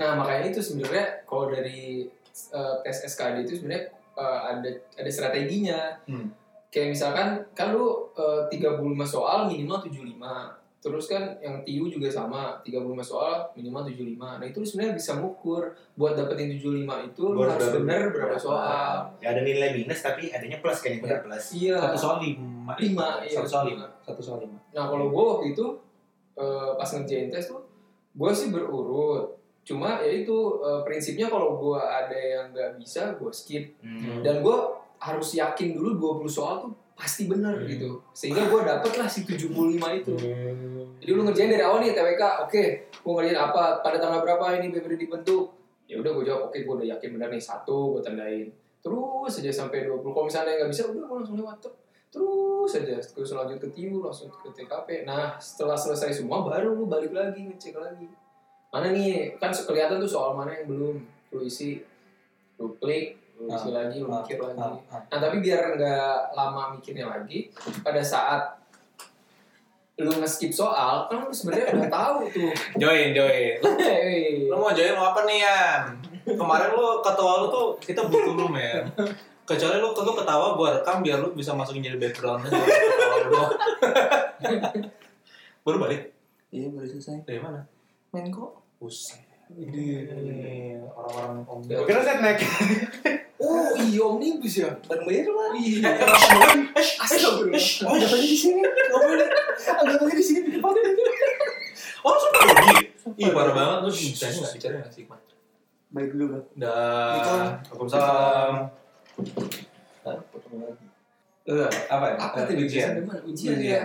[SPEAKER 3] Nah makanya itu sebenarnya kalau dari eh, tes SKD itu sebenarnya eh, ada ada strateginya.
[SPEAKER 2] Hmm.
[SPEAKER 3] Kayak misalkan kan lu eh, 35 soal minimal 75. Terus kan yang TIU juga sama, 35 soal minimal 75. Nah itu lu sebenarnya bisa ngukur buat dapetin 75 itu lu
[SPEAKER 1] Gua
[SPEAKER 3] harus
[SPEAKER 1] udah-
[SPEAKER 3] bener berapa soal.
[SPEAKER 1] ya ada nilai minus tapi adanya plus kan yang bener plus
[SPEAKER 3] Iya.
[SPEAKER 2] Satu soal lima.
[SPEAKER 3] Lima, iya.
[SPEAKER 2] Satu soal lima. Satu soal lima.
[SPEAKER 3] Nah kalau gue waktu itu eh, pas ngerjain tes tuh gue sih berurut. Cuma ya itu eh, prinsipnya kalau gue ada yang nggak bisa gue skip.
[SPEAKER 1] Hmm.
[SPEAKER 3] dan gue harus yakin dulu 20 soal tuh pasti bener
[SPEAKER 2] Hmm.
[SPEAKER 3] gitu sehingga gue dapet lah si 75 itu
[SPEAKER 2] Hmm.
[SPEAKER 3] jadi lu ngerjain dari awal nih TWK oke gue ngerjain apa pada tanggal berapa ini BPD dibentuk ya udah gue jawab oke gue udah yakin bener nih satu gue tandain terus aja sampai 20 kalau misalnya nggak bisa udah gue langsung lewat tuh terus aja terus lanjut ke TIU langsung ke TKP nah setelah selesai semua baru lu balik lagi ngecek lagi mana nih kan kelihatan tuh soal mana yang belum lu isi lu klik lu isi lagi lu
[SPEAKER 2] ah,
[SPEAKER 3] mikir lagi
[SPEAKER 2] Ah, ah.
[SPEAKER 3] Nah tapi biar nggak lama mikirnya lagi, pada saat lu nge-skip soal, kan lu sebenarnya udah tahu tuh.
[SPEAKER 2] Join, join.
[SPEAKER 3] Hei.
[SPEAKER 2] Lu mau join mau apa nih Yan? Kemarin lu ketua lu tuh kita butuh lu men. Kecuali lu lu ketawa gua rekam biar lu bisa masukin jadi background aja. Ketawa lu doang. Baru balik
[SPEAKER 4] Iya baru selesai.
[SPEAKER 2] dari mana?
[SPEAKER 4] Main kok.
[SPEAKER 2] Buset.
[SPEAKER 3] Iya.
[SPEAKER 2] Ini orang-orang om.
[SPEAKER 1] gue kira set naik
[SPEAKER 3] Oh iya omnibus ya.
[SPEAKER 4] Baru bayar lah.
[SPEAKER 3] Iya. Astagfirullah.
[SPEAKER 4] Oh jawabannya di sini. Gak boleh.
[SPEAKER 2] Ah,
[SPEAKER 4] Anggapannya di sini di depan.
[SPEAKER 2] Oh, sumpah rugi. Ih, parah banget lu bicara enggak bicara enggak sih, Hikmat?
[SPEAKER 4] Baik dulu bang. Waalaikumsalam.
[SPEAKER 2] Dah. Waalaikumsalam. Hah? Eh, apa ya?
[SPEAKER 3] Apa
[SPEAKER 2] Eh,
[SPEAKER 3] tadi
[SPEAKER 2] ujian?
[SPEAKER 3] ujian? Ujian ya.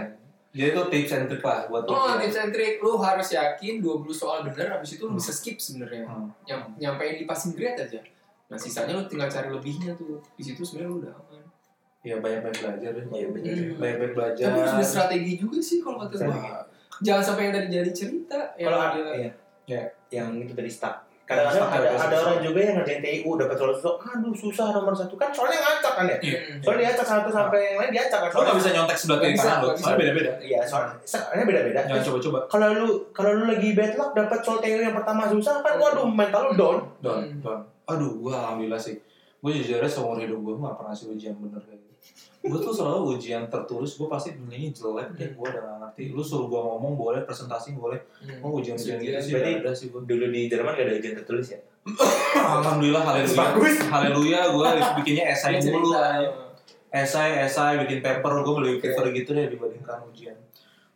[SPEAKER 2] Jadi itu tips and trick lah buat
[SPEAKER 3] Oh,
[SPEAKER 2] ujian.
[SPEAKER 3] tips and trick. Lu harus yakin 20 soal bener, habis itu lu bisa skip sebenarnya.
[SPEAKER 2] Hmm.
[SPEAKER 3] Nyam, nyampein di passing grade aja. Nah, sisanya lu tinggal cari lebihnya tuh. Di situ sebenarnya lu udah aman.
[SPEAKER 2] Iya banyak-banyak belajar ya.
[SPEAKER 1] Iya, bener.
[SPEAKER 2] Hmm. Banyak-banyak belajar.
[SPEAKER 3] Tapi harus ada strategi juga sih kalau kata gue.
[SPEAKER 2] Wah,
[SPEAKER 3] Jangan sampai yang tadi jadi cerita. ya. yang
[SPEAKER 1] kalau
[SPEAKER 3] dia-
[SPEAKER 1] ada
[SPEAKER 2] Iya.
[SPEAKER 1] ya yang itu Kan dari staff
[SPEAKER 2] Karena
[SPEAKER 1] kadang
[SPEAKER 2] staff
[SPEAKER 1] Nah, ada
[SPEAKER 2] ada
[SPEAKER 1] ada
[SPEAKER 2] susah.
[SPEAKER 1] orang juga yang ngerjain TU dapat soal susah aduh susah nomor satu kan soalnya ngacak kan ya
[SPEAKER 3] Hmm.
[SPEAKER 1] soalnya diacak satu sampai yang lain diacak kan
[SPEAKER 2] Lu
[SPEAKER 1] soalnya
[SPEAKER 2] gak bisa nyontek sebelah
[SPEAKER 3] Gak
[SPEAKER 2] kiri
[SPEAKER 3] bisa,
[SPEAKER 2] kanan lu,
[SPEAKER 3] gak bisa.
[SPEAKER 2] soalnya beda-beda.
[SPEAKER 1] iya soalnya soalnya beda-beda
[SPEAKER 2] Jangan coba-coba.
[SPEAKER 1] kalau lu kalau lu lagi bad luck dapat soal TU yang pertama susah kan waduh mental lu down
[SPEAKER 2] Don,
[SPEAKER 3] Hmm.
[SPEAKER 2] don. Aduh, gua alhamdulillah sih. Gua jujur aja seumur hidup gua gak pernah sih ujian bener kayak gitu. Gua tuh selalu ujian tertulis, gua pasti nilainya jelek deh. Gua udah gak ngerti. Lu suruh gua ngomong boleh, presentasi boleh.
[SPEAKER 3] Hmm.
[SPEAKER 2] Oh ujian-ujian gitu sih,
[SPEAKER 1] Berarti-
[SPEAKER 2] gak ada sih gua.
[SPEAKER 1] Nah. dulu di Jerman gak ada ujian tertulis ya
[SPEAKER 2] Alhamdulillah, haleluya.
[SPEAKER 1] bagus
[SPEAKER 2] Haleluya, gua bikinnya esai
[SPEAKER 3] Cerita.
[SPEAKER 2] mulu. esai esai bikin paper gue lebih prefer gitu deh dibandingkan ujian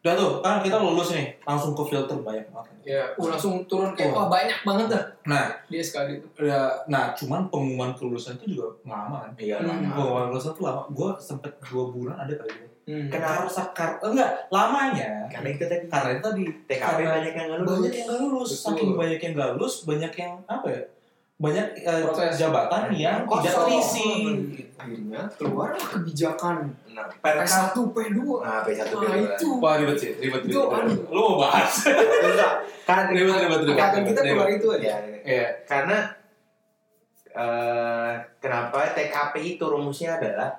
[SPEAKER 2] udah tuh kan kita lulus nih langsung ke filter banyak banget
[SPEAKER 3] Ya, uh, langsung turun kayak wah
[SPEAKER 2] Wah.
[SPEAKER 3] banyak banget dah
[SPEAKER 2] nah
[SPEAKER 3] di SKD itu.
[SPEAKER 2] ya, nah cuman pengumuman kelulusan itu juga lama kan
[SPEAKER 1] iya
[SPEAKER 3] Hmm.
[SPEAKER 1] lama.
[SPEAKER 2] pengumuman kelulusan tuh lama gue sempet dua bulan ada kali ini
[SPEAKER 3] Hmm.
[SPEAKER 2] karena
[SPEAKER 1] Kenapa?
[SPEAKER 2] sakar enggak lamanya
[SPEAKER 1] karena itu tadi
[SPEAKER 2] karena itu tadi
[SPEAKER 1] TKP
[SPEAKER 2] Karena
[SPEAKER 1] banyak yang nggak lulus
[SPEAKER 2] banyak yang gak lulus
[SPEAKER 3] Betul.
[SPEAKER 2] saking banyak yang gak lulus banyak yang apa ya banyak eh,
[SPEAKER 3] Proses.
[SPEAKER 2] jabatan yang tidak
[SPEAKER 3] Kosong.
[SPEAKER 2] terisi.
[SPEAKER 4] akhirnya keluar kebijakan
[SPEAKER 1] Nah,
[SPEAKER 4] P1 P2
[SPEAKER 1] Nah, P1
[SPEAKER 4] Nah,
[SPEAKER 1] P2.
[SPEAKER 4] itu
[SPEAKER 2] Wah ribet sih, ribet
[SPEAKER 4] Itu aneh.
[SPEAKER 2] ribet. Lu mau bahas?
[SPEAKER 1] Enggak, karena
[SPEAKER 2] ribet, ribet, ribet.
[SPEAKER 4] akan kita
[SPEAKER 2] ribet.
[SPEAKER 4] keluar itu aja
[SPEAKER 1] Kan ya,
[SPEAKER 2] Iya.
[SPEAKER 1] karena eh, kenapa TKP itu rumusnya adalah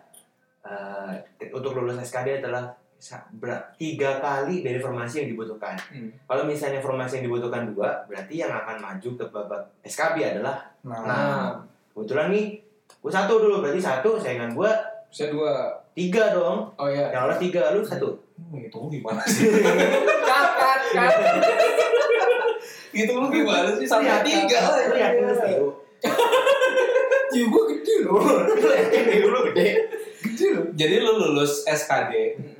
[SPEAKER 1] eh, untuk lulus SKD adalah sa- ber- tiga kali dari formasi yang dibutuhkan.
[SPEAKER 3] Hmm.
[SPEAKER 1] Kalau misalnya formasi yang dibutuhkan dua, berarti yang akan maju ke babak SKB adalah
[SPEAKER 2] Nah,
[SPEAKER 1] nah kebetulan nih gue satu dulu berarti satu saingan gue
[SPEAKER 3] Saya dua.
[SPEAKER 1] tiga dong
[SPEAKER 3] Oh ya.
[SPEAKER 1] yang lolos tiga lu satu
[SPEAKER 2] "Hmm, itu gimana sih?
[SPEAKER 3] Kakak kan.
[SPEAKER 2] Itu lu gimana sih? Sampai
[SPEAKER 1] Iya,
[SPEAKER 2] tiga.
[SPEAKER 1] lu yakin lu setuju?
[SPEAKER 4] ya
[SPEAKER 3] Iya,
[SPEAKER 4] gue gede loh
[SPEAKER 1] Lu yakin lu gede
[SPEAKER 4] gede loh
[SPEAKER 2] Jadi lu lulus SKD,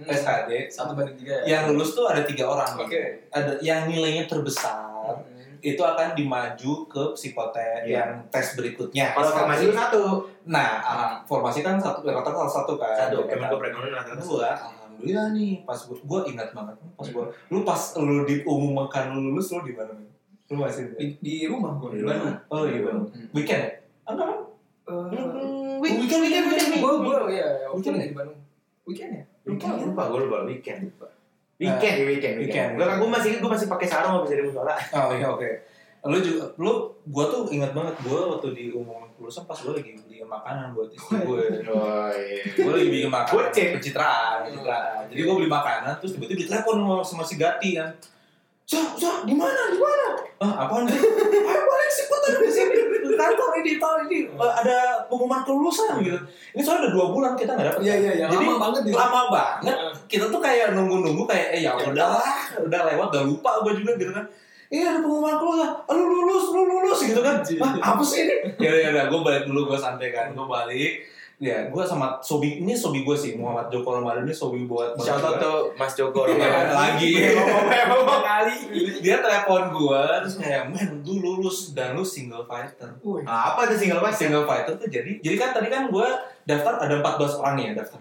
[SPEAKER 2] SKD
[SPEAKER 3] Satu banding tiga. ya?
[SPEAKER 2] yang lulus tuh ada tiga orang.
[SPEAKER 3] Hmm. Oke.
[SPEAKER 2] Ada yang nilainya terbesar itu akan dimaju ke psikotes
[SPEAKER 1] Iya.
[SPEAKER 2] yang tes berikutnya.
[SPEAKER 1] kalau formasi kan? lu satu
[SPEAKER 2] Nah, alham- formasi kan satu rata-rata salah satu kan. Ya,
[SPEAKER 1] satu emang
[SPEAKER 2] kan?
[SPEAKER 1] gue perekonomian rata-rata dua.
[SPEAKER 2] Gua, alhamdulillah nih pas gua, gua ingat banget pas gua lu pas lu diumumkan lu lulus lu di mana Min? lu masih di,
[SPEAKER 3] Di, di rumah gue.
[SPEAKER 1] Di rumah.
[SPEAKER 2] oh iya Bang.
[SPEAKER 3] Hmm.
[SPEAKER 2] weekend ya? enggak kan
[SPEAKER 1] Weekend, weekend, weekend, weekend.
[SPEAKER 3] Gue gue ya. Waktu
[SPEAKER 2] Weekend
[SPEAKER 3] di Bandung. Weekend ya.
[SPEAKER 1] Lupa,
[SPEAKER 3] Weekend.
[SPEAKER 1] lupa, gue lupa weekend.
[SPEAKER 3] Lupa.
[SPEAKER 1] Weekend, weekend,
[SPEAKER 2] weekend.
[SPEAKER 1] Eh, weekend. Gue gue masih gue masih pakai sarung habis dari musola.
[SPEAKER 2] oh iya oke lu juga lu gua tuh ingat banget gua waktu diumumkan lulusan pas gua lagi beliin makanan buat istri gue
[SPEAKER 1] Oh iya.
[SPEAKER 2] gue lagi bikin makanan
[SPEAKER 1] Gocek.
[SPEAKER 2] pencitraan pencitraan jadi gue beli makanan terus tiba-tiba ditelepon sama, sama si Gati kan Sa, sa, di mana, di mana? Ah, apaan sih? Ayo balik sih, kok tadi di sini di kantor ini, tahun ini eh, ada pengumuman kelulusan gitu. Ini soalnya udah dua bulan kita nggak dapet. kan.
[SPEAKER 3] Iya iya iya.
[SPEAKER 2] Jadi
[SPEAKER 3] Lama banget di
[SPEAKER 2] lama banget. Kita tuh kayak nunggu-nunggu kayak, eh ya
[SPEAKER 3] Ya.
[SPEAKER 2] udahlah, udah lewat, udah lupa gue juga gitu kan. Iya ada pengumuman kelulusan, Ah, lu lulus, lu lulus gitu kan. Hah, apa sih ini? Ya udah, ya udah, gue balik dulu, gue santai kan, gue balik. Ya, gue sama Sobi, ini Sobi gue sih, Muhammad Joko Ramadan ini Sobi buat
[SPEAKER 1] Shout out
[SPEAKER 2] buat-
[SPEAKER 1] tuh Mas Joko.
[SPEAKER 2] Iya,
[SPEAKER 1] Ramadan.
[SPEAKER 2] lagi.
[SPEAKER 3] Lama kali.
[SPEAKER 2] Dia telepon gue, terus kayak, men, lu lulus dan lu single fighter.
[SPEAKER 3] Wih.
[SPEAKER 1] Ah, Apa tuh single pas?
[SPEAKER 2] Single fighter tuh jadi, jadi kan tadi kan gue daftar ada 14 orang nih ya daftar.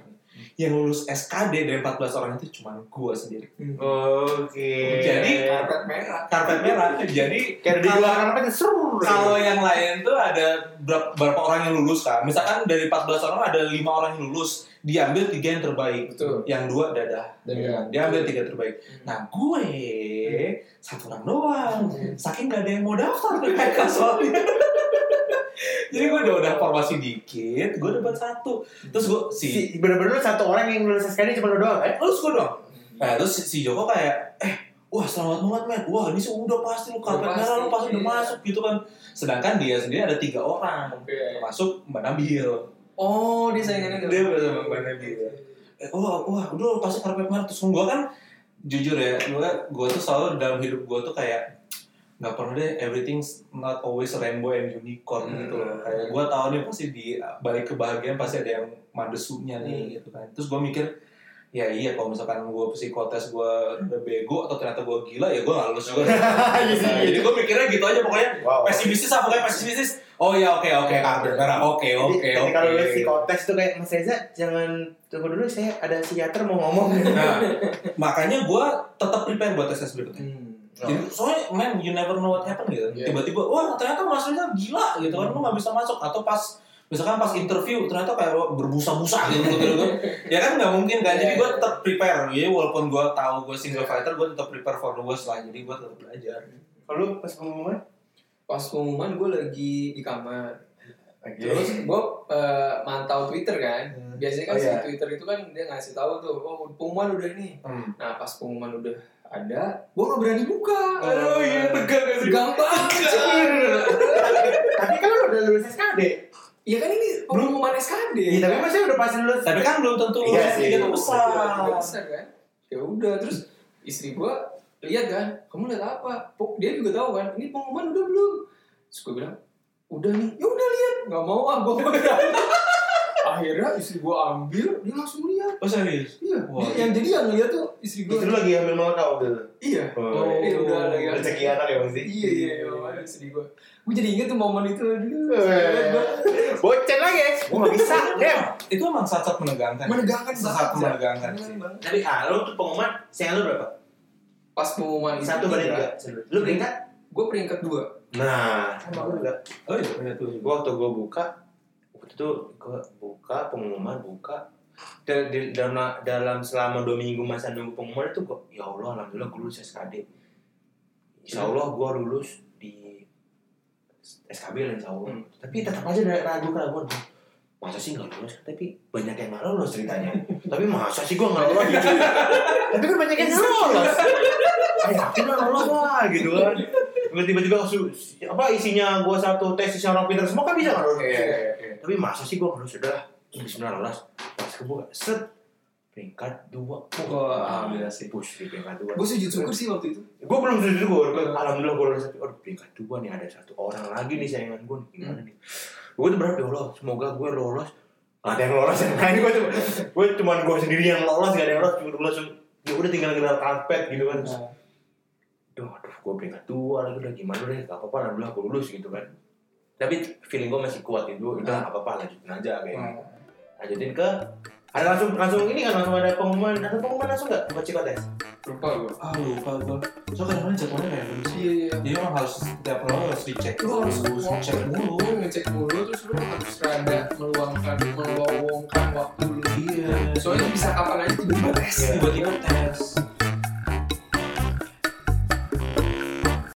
[SPEAKER 2] Yang lulus SKD dari 14 orang itu cuma gue sendiri.
[SPEAKER 1] Oke.
[SPEAKER 2] Jadi,
[SPEAKER 3] Karpet merah.
[SPEAKER 2] Karpet merah, jadi
[SPEAKER 1] kayak di luar kan apa tuh? Seru.
[SPEAKER 2] kalau yang lain tuh ada berapa, berapa orang yang lulus kan? Misalkan dari 14 orang ada lima orang yang lulus, diambil tiga yang terbaik.
[SPEAKER 3] Betul.
[SPEAKER 2] Yang dua dadah.
[SPEAKER 3] Dadah.
[SPEAKER 2] Dia ambil tiga terbaik. Nah gue satu orang doang. Saking gak ada yang mau daftar ke PK soalnya. Jadi gue udah udah formasi dikit, gue dapat satu. Terus gue si,
[SPEAKER 1] si bener-bener lu satu orang yang lulus SKD cuma lu doang kan?
[SPEAKER 2] terus gue doang. Nah terus si, si Joko kayak, eh wah selamat banget men, wah ini sih udah pasti lu karpet
[SPEAKER 3] Udah
[SPEAKER 2] merah lu
[SPEAKER 3] pasti,
[SPEAKER 2] pasti udah
[SPEAKER 3] iya.
[SPEAKER 2] masuk gitu kan. Sedangkan dia sendiri ada tiga orang,
[SPEAKER 3] Oke.
[SPEAKER 2] termasuk Mbak Nabil.
[SPEAKER 3] Oh, dia saingannya
[SPEAKER 2] Dia bersama Mbak Nabila. eh, wah wah udah pasti karpet merah terus gue kan jujur ya gue gue tuh selalu dalam hidup gue tuh kayak nggak pernah deh everything's not always rainbow and unicorn
[SPEAKER 3] Hmm.
[SPEAKER 2] gitu loh kayak gue tahu nih pasti di balik kebahagiaan pasti ada yang madesunya
[SPEAKER 1] Hmm.
[SPEAKER 2] nih gitu kan terus gue mikir ya iya kalau misalkan gue psikotes gue udah bego atau ternyata gue gila ya gue nggak lulus juga
[SPEAKER 1] Iya,
[SPEAKER 2] Nah, jadi gue mikirnya gitu aja pokoknya
[SPEAKER 1] Wow.
[SPEAKER 2] pesimistis apa kayak pesimistis oh ya oke oke karpet merah oke
[SPEAKER 1] Jadi
[SPEAKER 2] oke
[SPEAKER 1] ketika
[SPEAKER 2] oke
[SPEAKER 1] lu psikotes tuh kayak Mas Reza jangan tunggu dulu saya ada psikiater mau ngomong.
[SPEAKER 2] Nah, makanya gue tetap prepare buat tes berikutnya.
[SPEAKER 3] Hmm.
[SPEAKER 2] Jadi soalnya man you never know what happen gitu.
[SPEAKER 3] Iya.
[SPEAKER 2] Tiba-tiba wah ternyata Mas Rizal gila gitu kan lu nggak bisa masuk atau pas misalkan pas interview ternyata kayak wah, berbusa-busa gitu gitu, gitu. ya kan nggak mungkin kan jadi gue tetap prepare ya walaupun gue tahu gue single fighter gue tetap prepare for the worst lah jadi gue tetap belajar
[SPEAKER 1] Kalau pas pengumuman?
[SPEAKER 3] Pas pengumuman gue lagi di kamar.
[SPEAKER 1] Iya.
[SPEAKER 3] Terus gue mantau Twitter kan. Biasanya kan
[SPEAKER 1] Oh,
[SPEAKER 3] si
[SPEAKER 1] iya.
[SPEAKER 3] Twitter itu kan dia ngasih tahu tuh, oh pengumuman udah nih.
[SPEAKER 1] Hmm.
[SPEAKER 3] Nah pas pengumuman udah ada, gue gak berani buka.
[SPEAKER 2] Oh, iya,
[SPEAKER 3] tegang gak sih? Tegang banget.
[SPEAKER 1] Tapi kan lu udah lulus SKD.
[SPEAKER 3] Iya kan ini pengumuman SKD.
[SPEAKER 1] Iya, tapi maksudnya udah pas lulus.
[SPEAKER 2] tapi kan belum tentu lu
[SPEAKER 1] Iya
[SPEAKER 2] yes,
[SPEAKER 1] sih.
[SPEAKER 2] tiga besar
[SPEAKER 3] Udah besar kan. Ya udah terus istri gue lihat kan, kamu lihat apa? Po- Dia juga tahu kan, ini pengumuman udah belum? Terus gue bilang, udah nih, ya udah lihat, nggak mau ah gue Akhirnya istri gue ambil, dia langsung lihat.
[SPEAKER 2] oh serius
[SPEAKER 3] Iya,
[SPEAKER 2] Wah.
[SPEAKER 3] yang jadi yang lihat tuh istri gue.
[SPEAKER 1] Justru lagi hamil mau tau gitu.
[SPEAKER 3] Iya.
[SPEAKER 1] Oh.
[SPEAKER 3] Iya, udah lagi.
[SPEAKER 1] Ada psikiater ya pasti.
[SPEAKER 3] Iya iya iya, makanya sedih gue. Gue jadi inget tuh momen itu. Aduh,
[SPEAKER 1] Eh.
[SPEAKER 3] sedih banget.
[SPEAKER 1] Bocet lagi ya. Gue gak bisa. Dem.
[SPEAKER 2] itu emang saat-saat menegangkan
[SPEAKER 3] Menegangkan
[SPEAKER 2] saat
[SPEAKER 3] banget.
[SPEAKER 2] menegangkan
[SPEAKER 3] Menegangkan banget.
[SPEAKER 1] Tapi ah, lu tuh pengumuman, sayang lu berapa?
[SPEAKER 3] Pas pengumuman
[SPEAKER 1] Satu banding tiga. Lu peringkat?
[SPEAKER 3] Gue peringkat dua.
[SPEAKER 1] Nah, sama gue juga.
[SPEAKER 2] Oh iya, punya tuh.
[SPEAKER 1] Gue waktu gue buka, waktu itu gue buka pengumuman buka. Dan di- dalam, dalam selama dua minggu masa nunggu pengumuman itu gue, ya Allah alhamdulillah gue lulus SKD. Insya Allah gue lulus di SKB lah insya Allah.
[SPEAKER 2] Hmm.
[SPEAKER 1] Tapi tetap aja ada ragu keraguan. Masa sih nggak lulus? Tapi banyak yang nggak lulus ceritanya. Tapi masa sih gue nggak lulus gitu? Tapi kan banyak yang nggak lulus. Kayak yakin lah "Eh, lulus lah gitu kan. Terus tiba-tiba su- apa isinya gua satu tes isinya orang pintar semua kan bisa kan
[SPEAKER 3] Iya, iya, iya.
[SPEAKER 1] tapi masa sih gua harus udah lah. Bismillah lolos pas kebuka set peringkat dua
[SPEAKER 2] Wah, alhamdulillah sih.
[SPEAKER 1] push di peringkat dua
[SPEAKER 4] Gue sujud syukur sih waktu itu.
[SPEAKER 1] gue belum sujud gue alhamdulillah gue lolos tapi aduh peringkat dua nih ada satu orang lagi nih saingan gue gimana nih gue tuh berharap ya Allah semoga gue lolos Gak ada yang lolos ya kan? yang lain gue cuma gue cuma gue sendiri yang lolos gak ada yang lolos cuma lolos ya udah tinggal tinggal karpet gitu kan Terus, Duh, aduh gue peringkat dua lagi udah gimana deh gak apa-apa alhamdulillah gue lulus gitu kan tapi feeling gue masih kuat itu udah gak apa-apa lanjutin aja kayak gitu. lanjutin ke ada langsung langsung ini kan langsung ada pengumuman ada pengumuman langsung nggak buat psikotes
[SPEAKER 3] Lupa gue.
[SPEAKER 2] Ah lupa gue. So kadang-kadang jadwalnya kayak belum sih.
[SPEAKER 3] Iya, iya.
[SPEAKER 2] Jadi orang harus tiap orang harus dicek
[SPEAKER 3] Lu harus
[SPEAKER 2] terus, cek mulu.
[SPEAKER 3] Lu ngecek mulu terus lu harus rada meluangkan, melowongkan waktu lu.
[SPEAKER 2] Iya.
[SPEAKER 3] 네. Soalnya bisa kapan aja tiba-tiba tes.
[SPEAKER 2] tiba-tiba tes.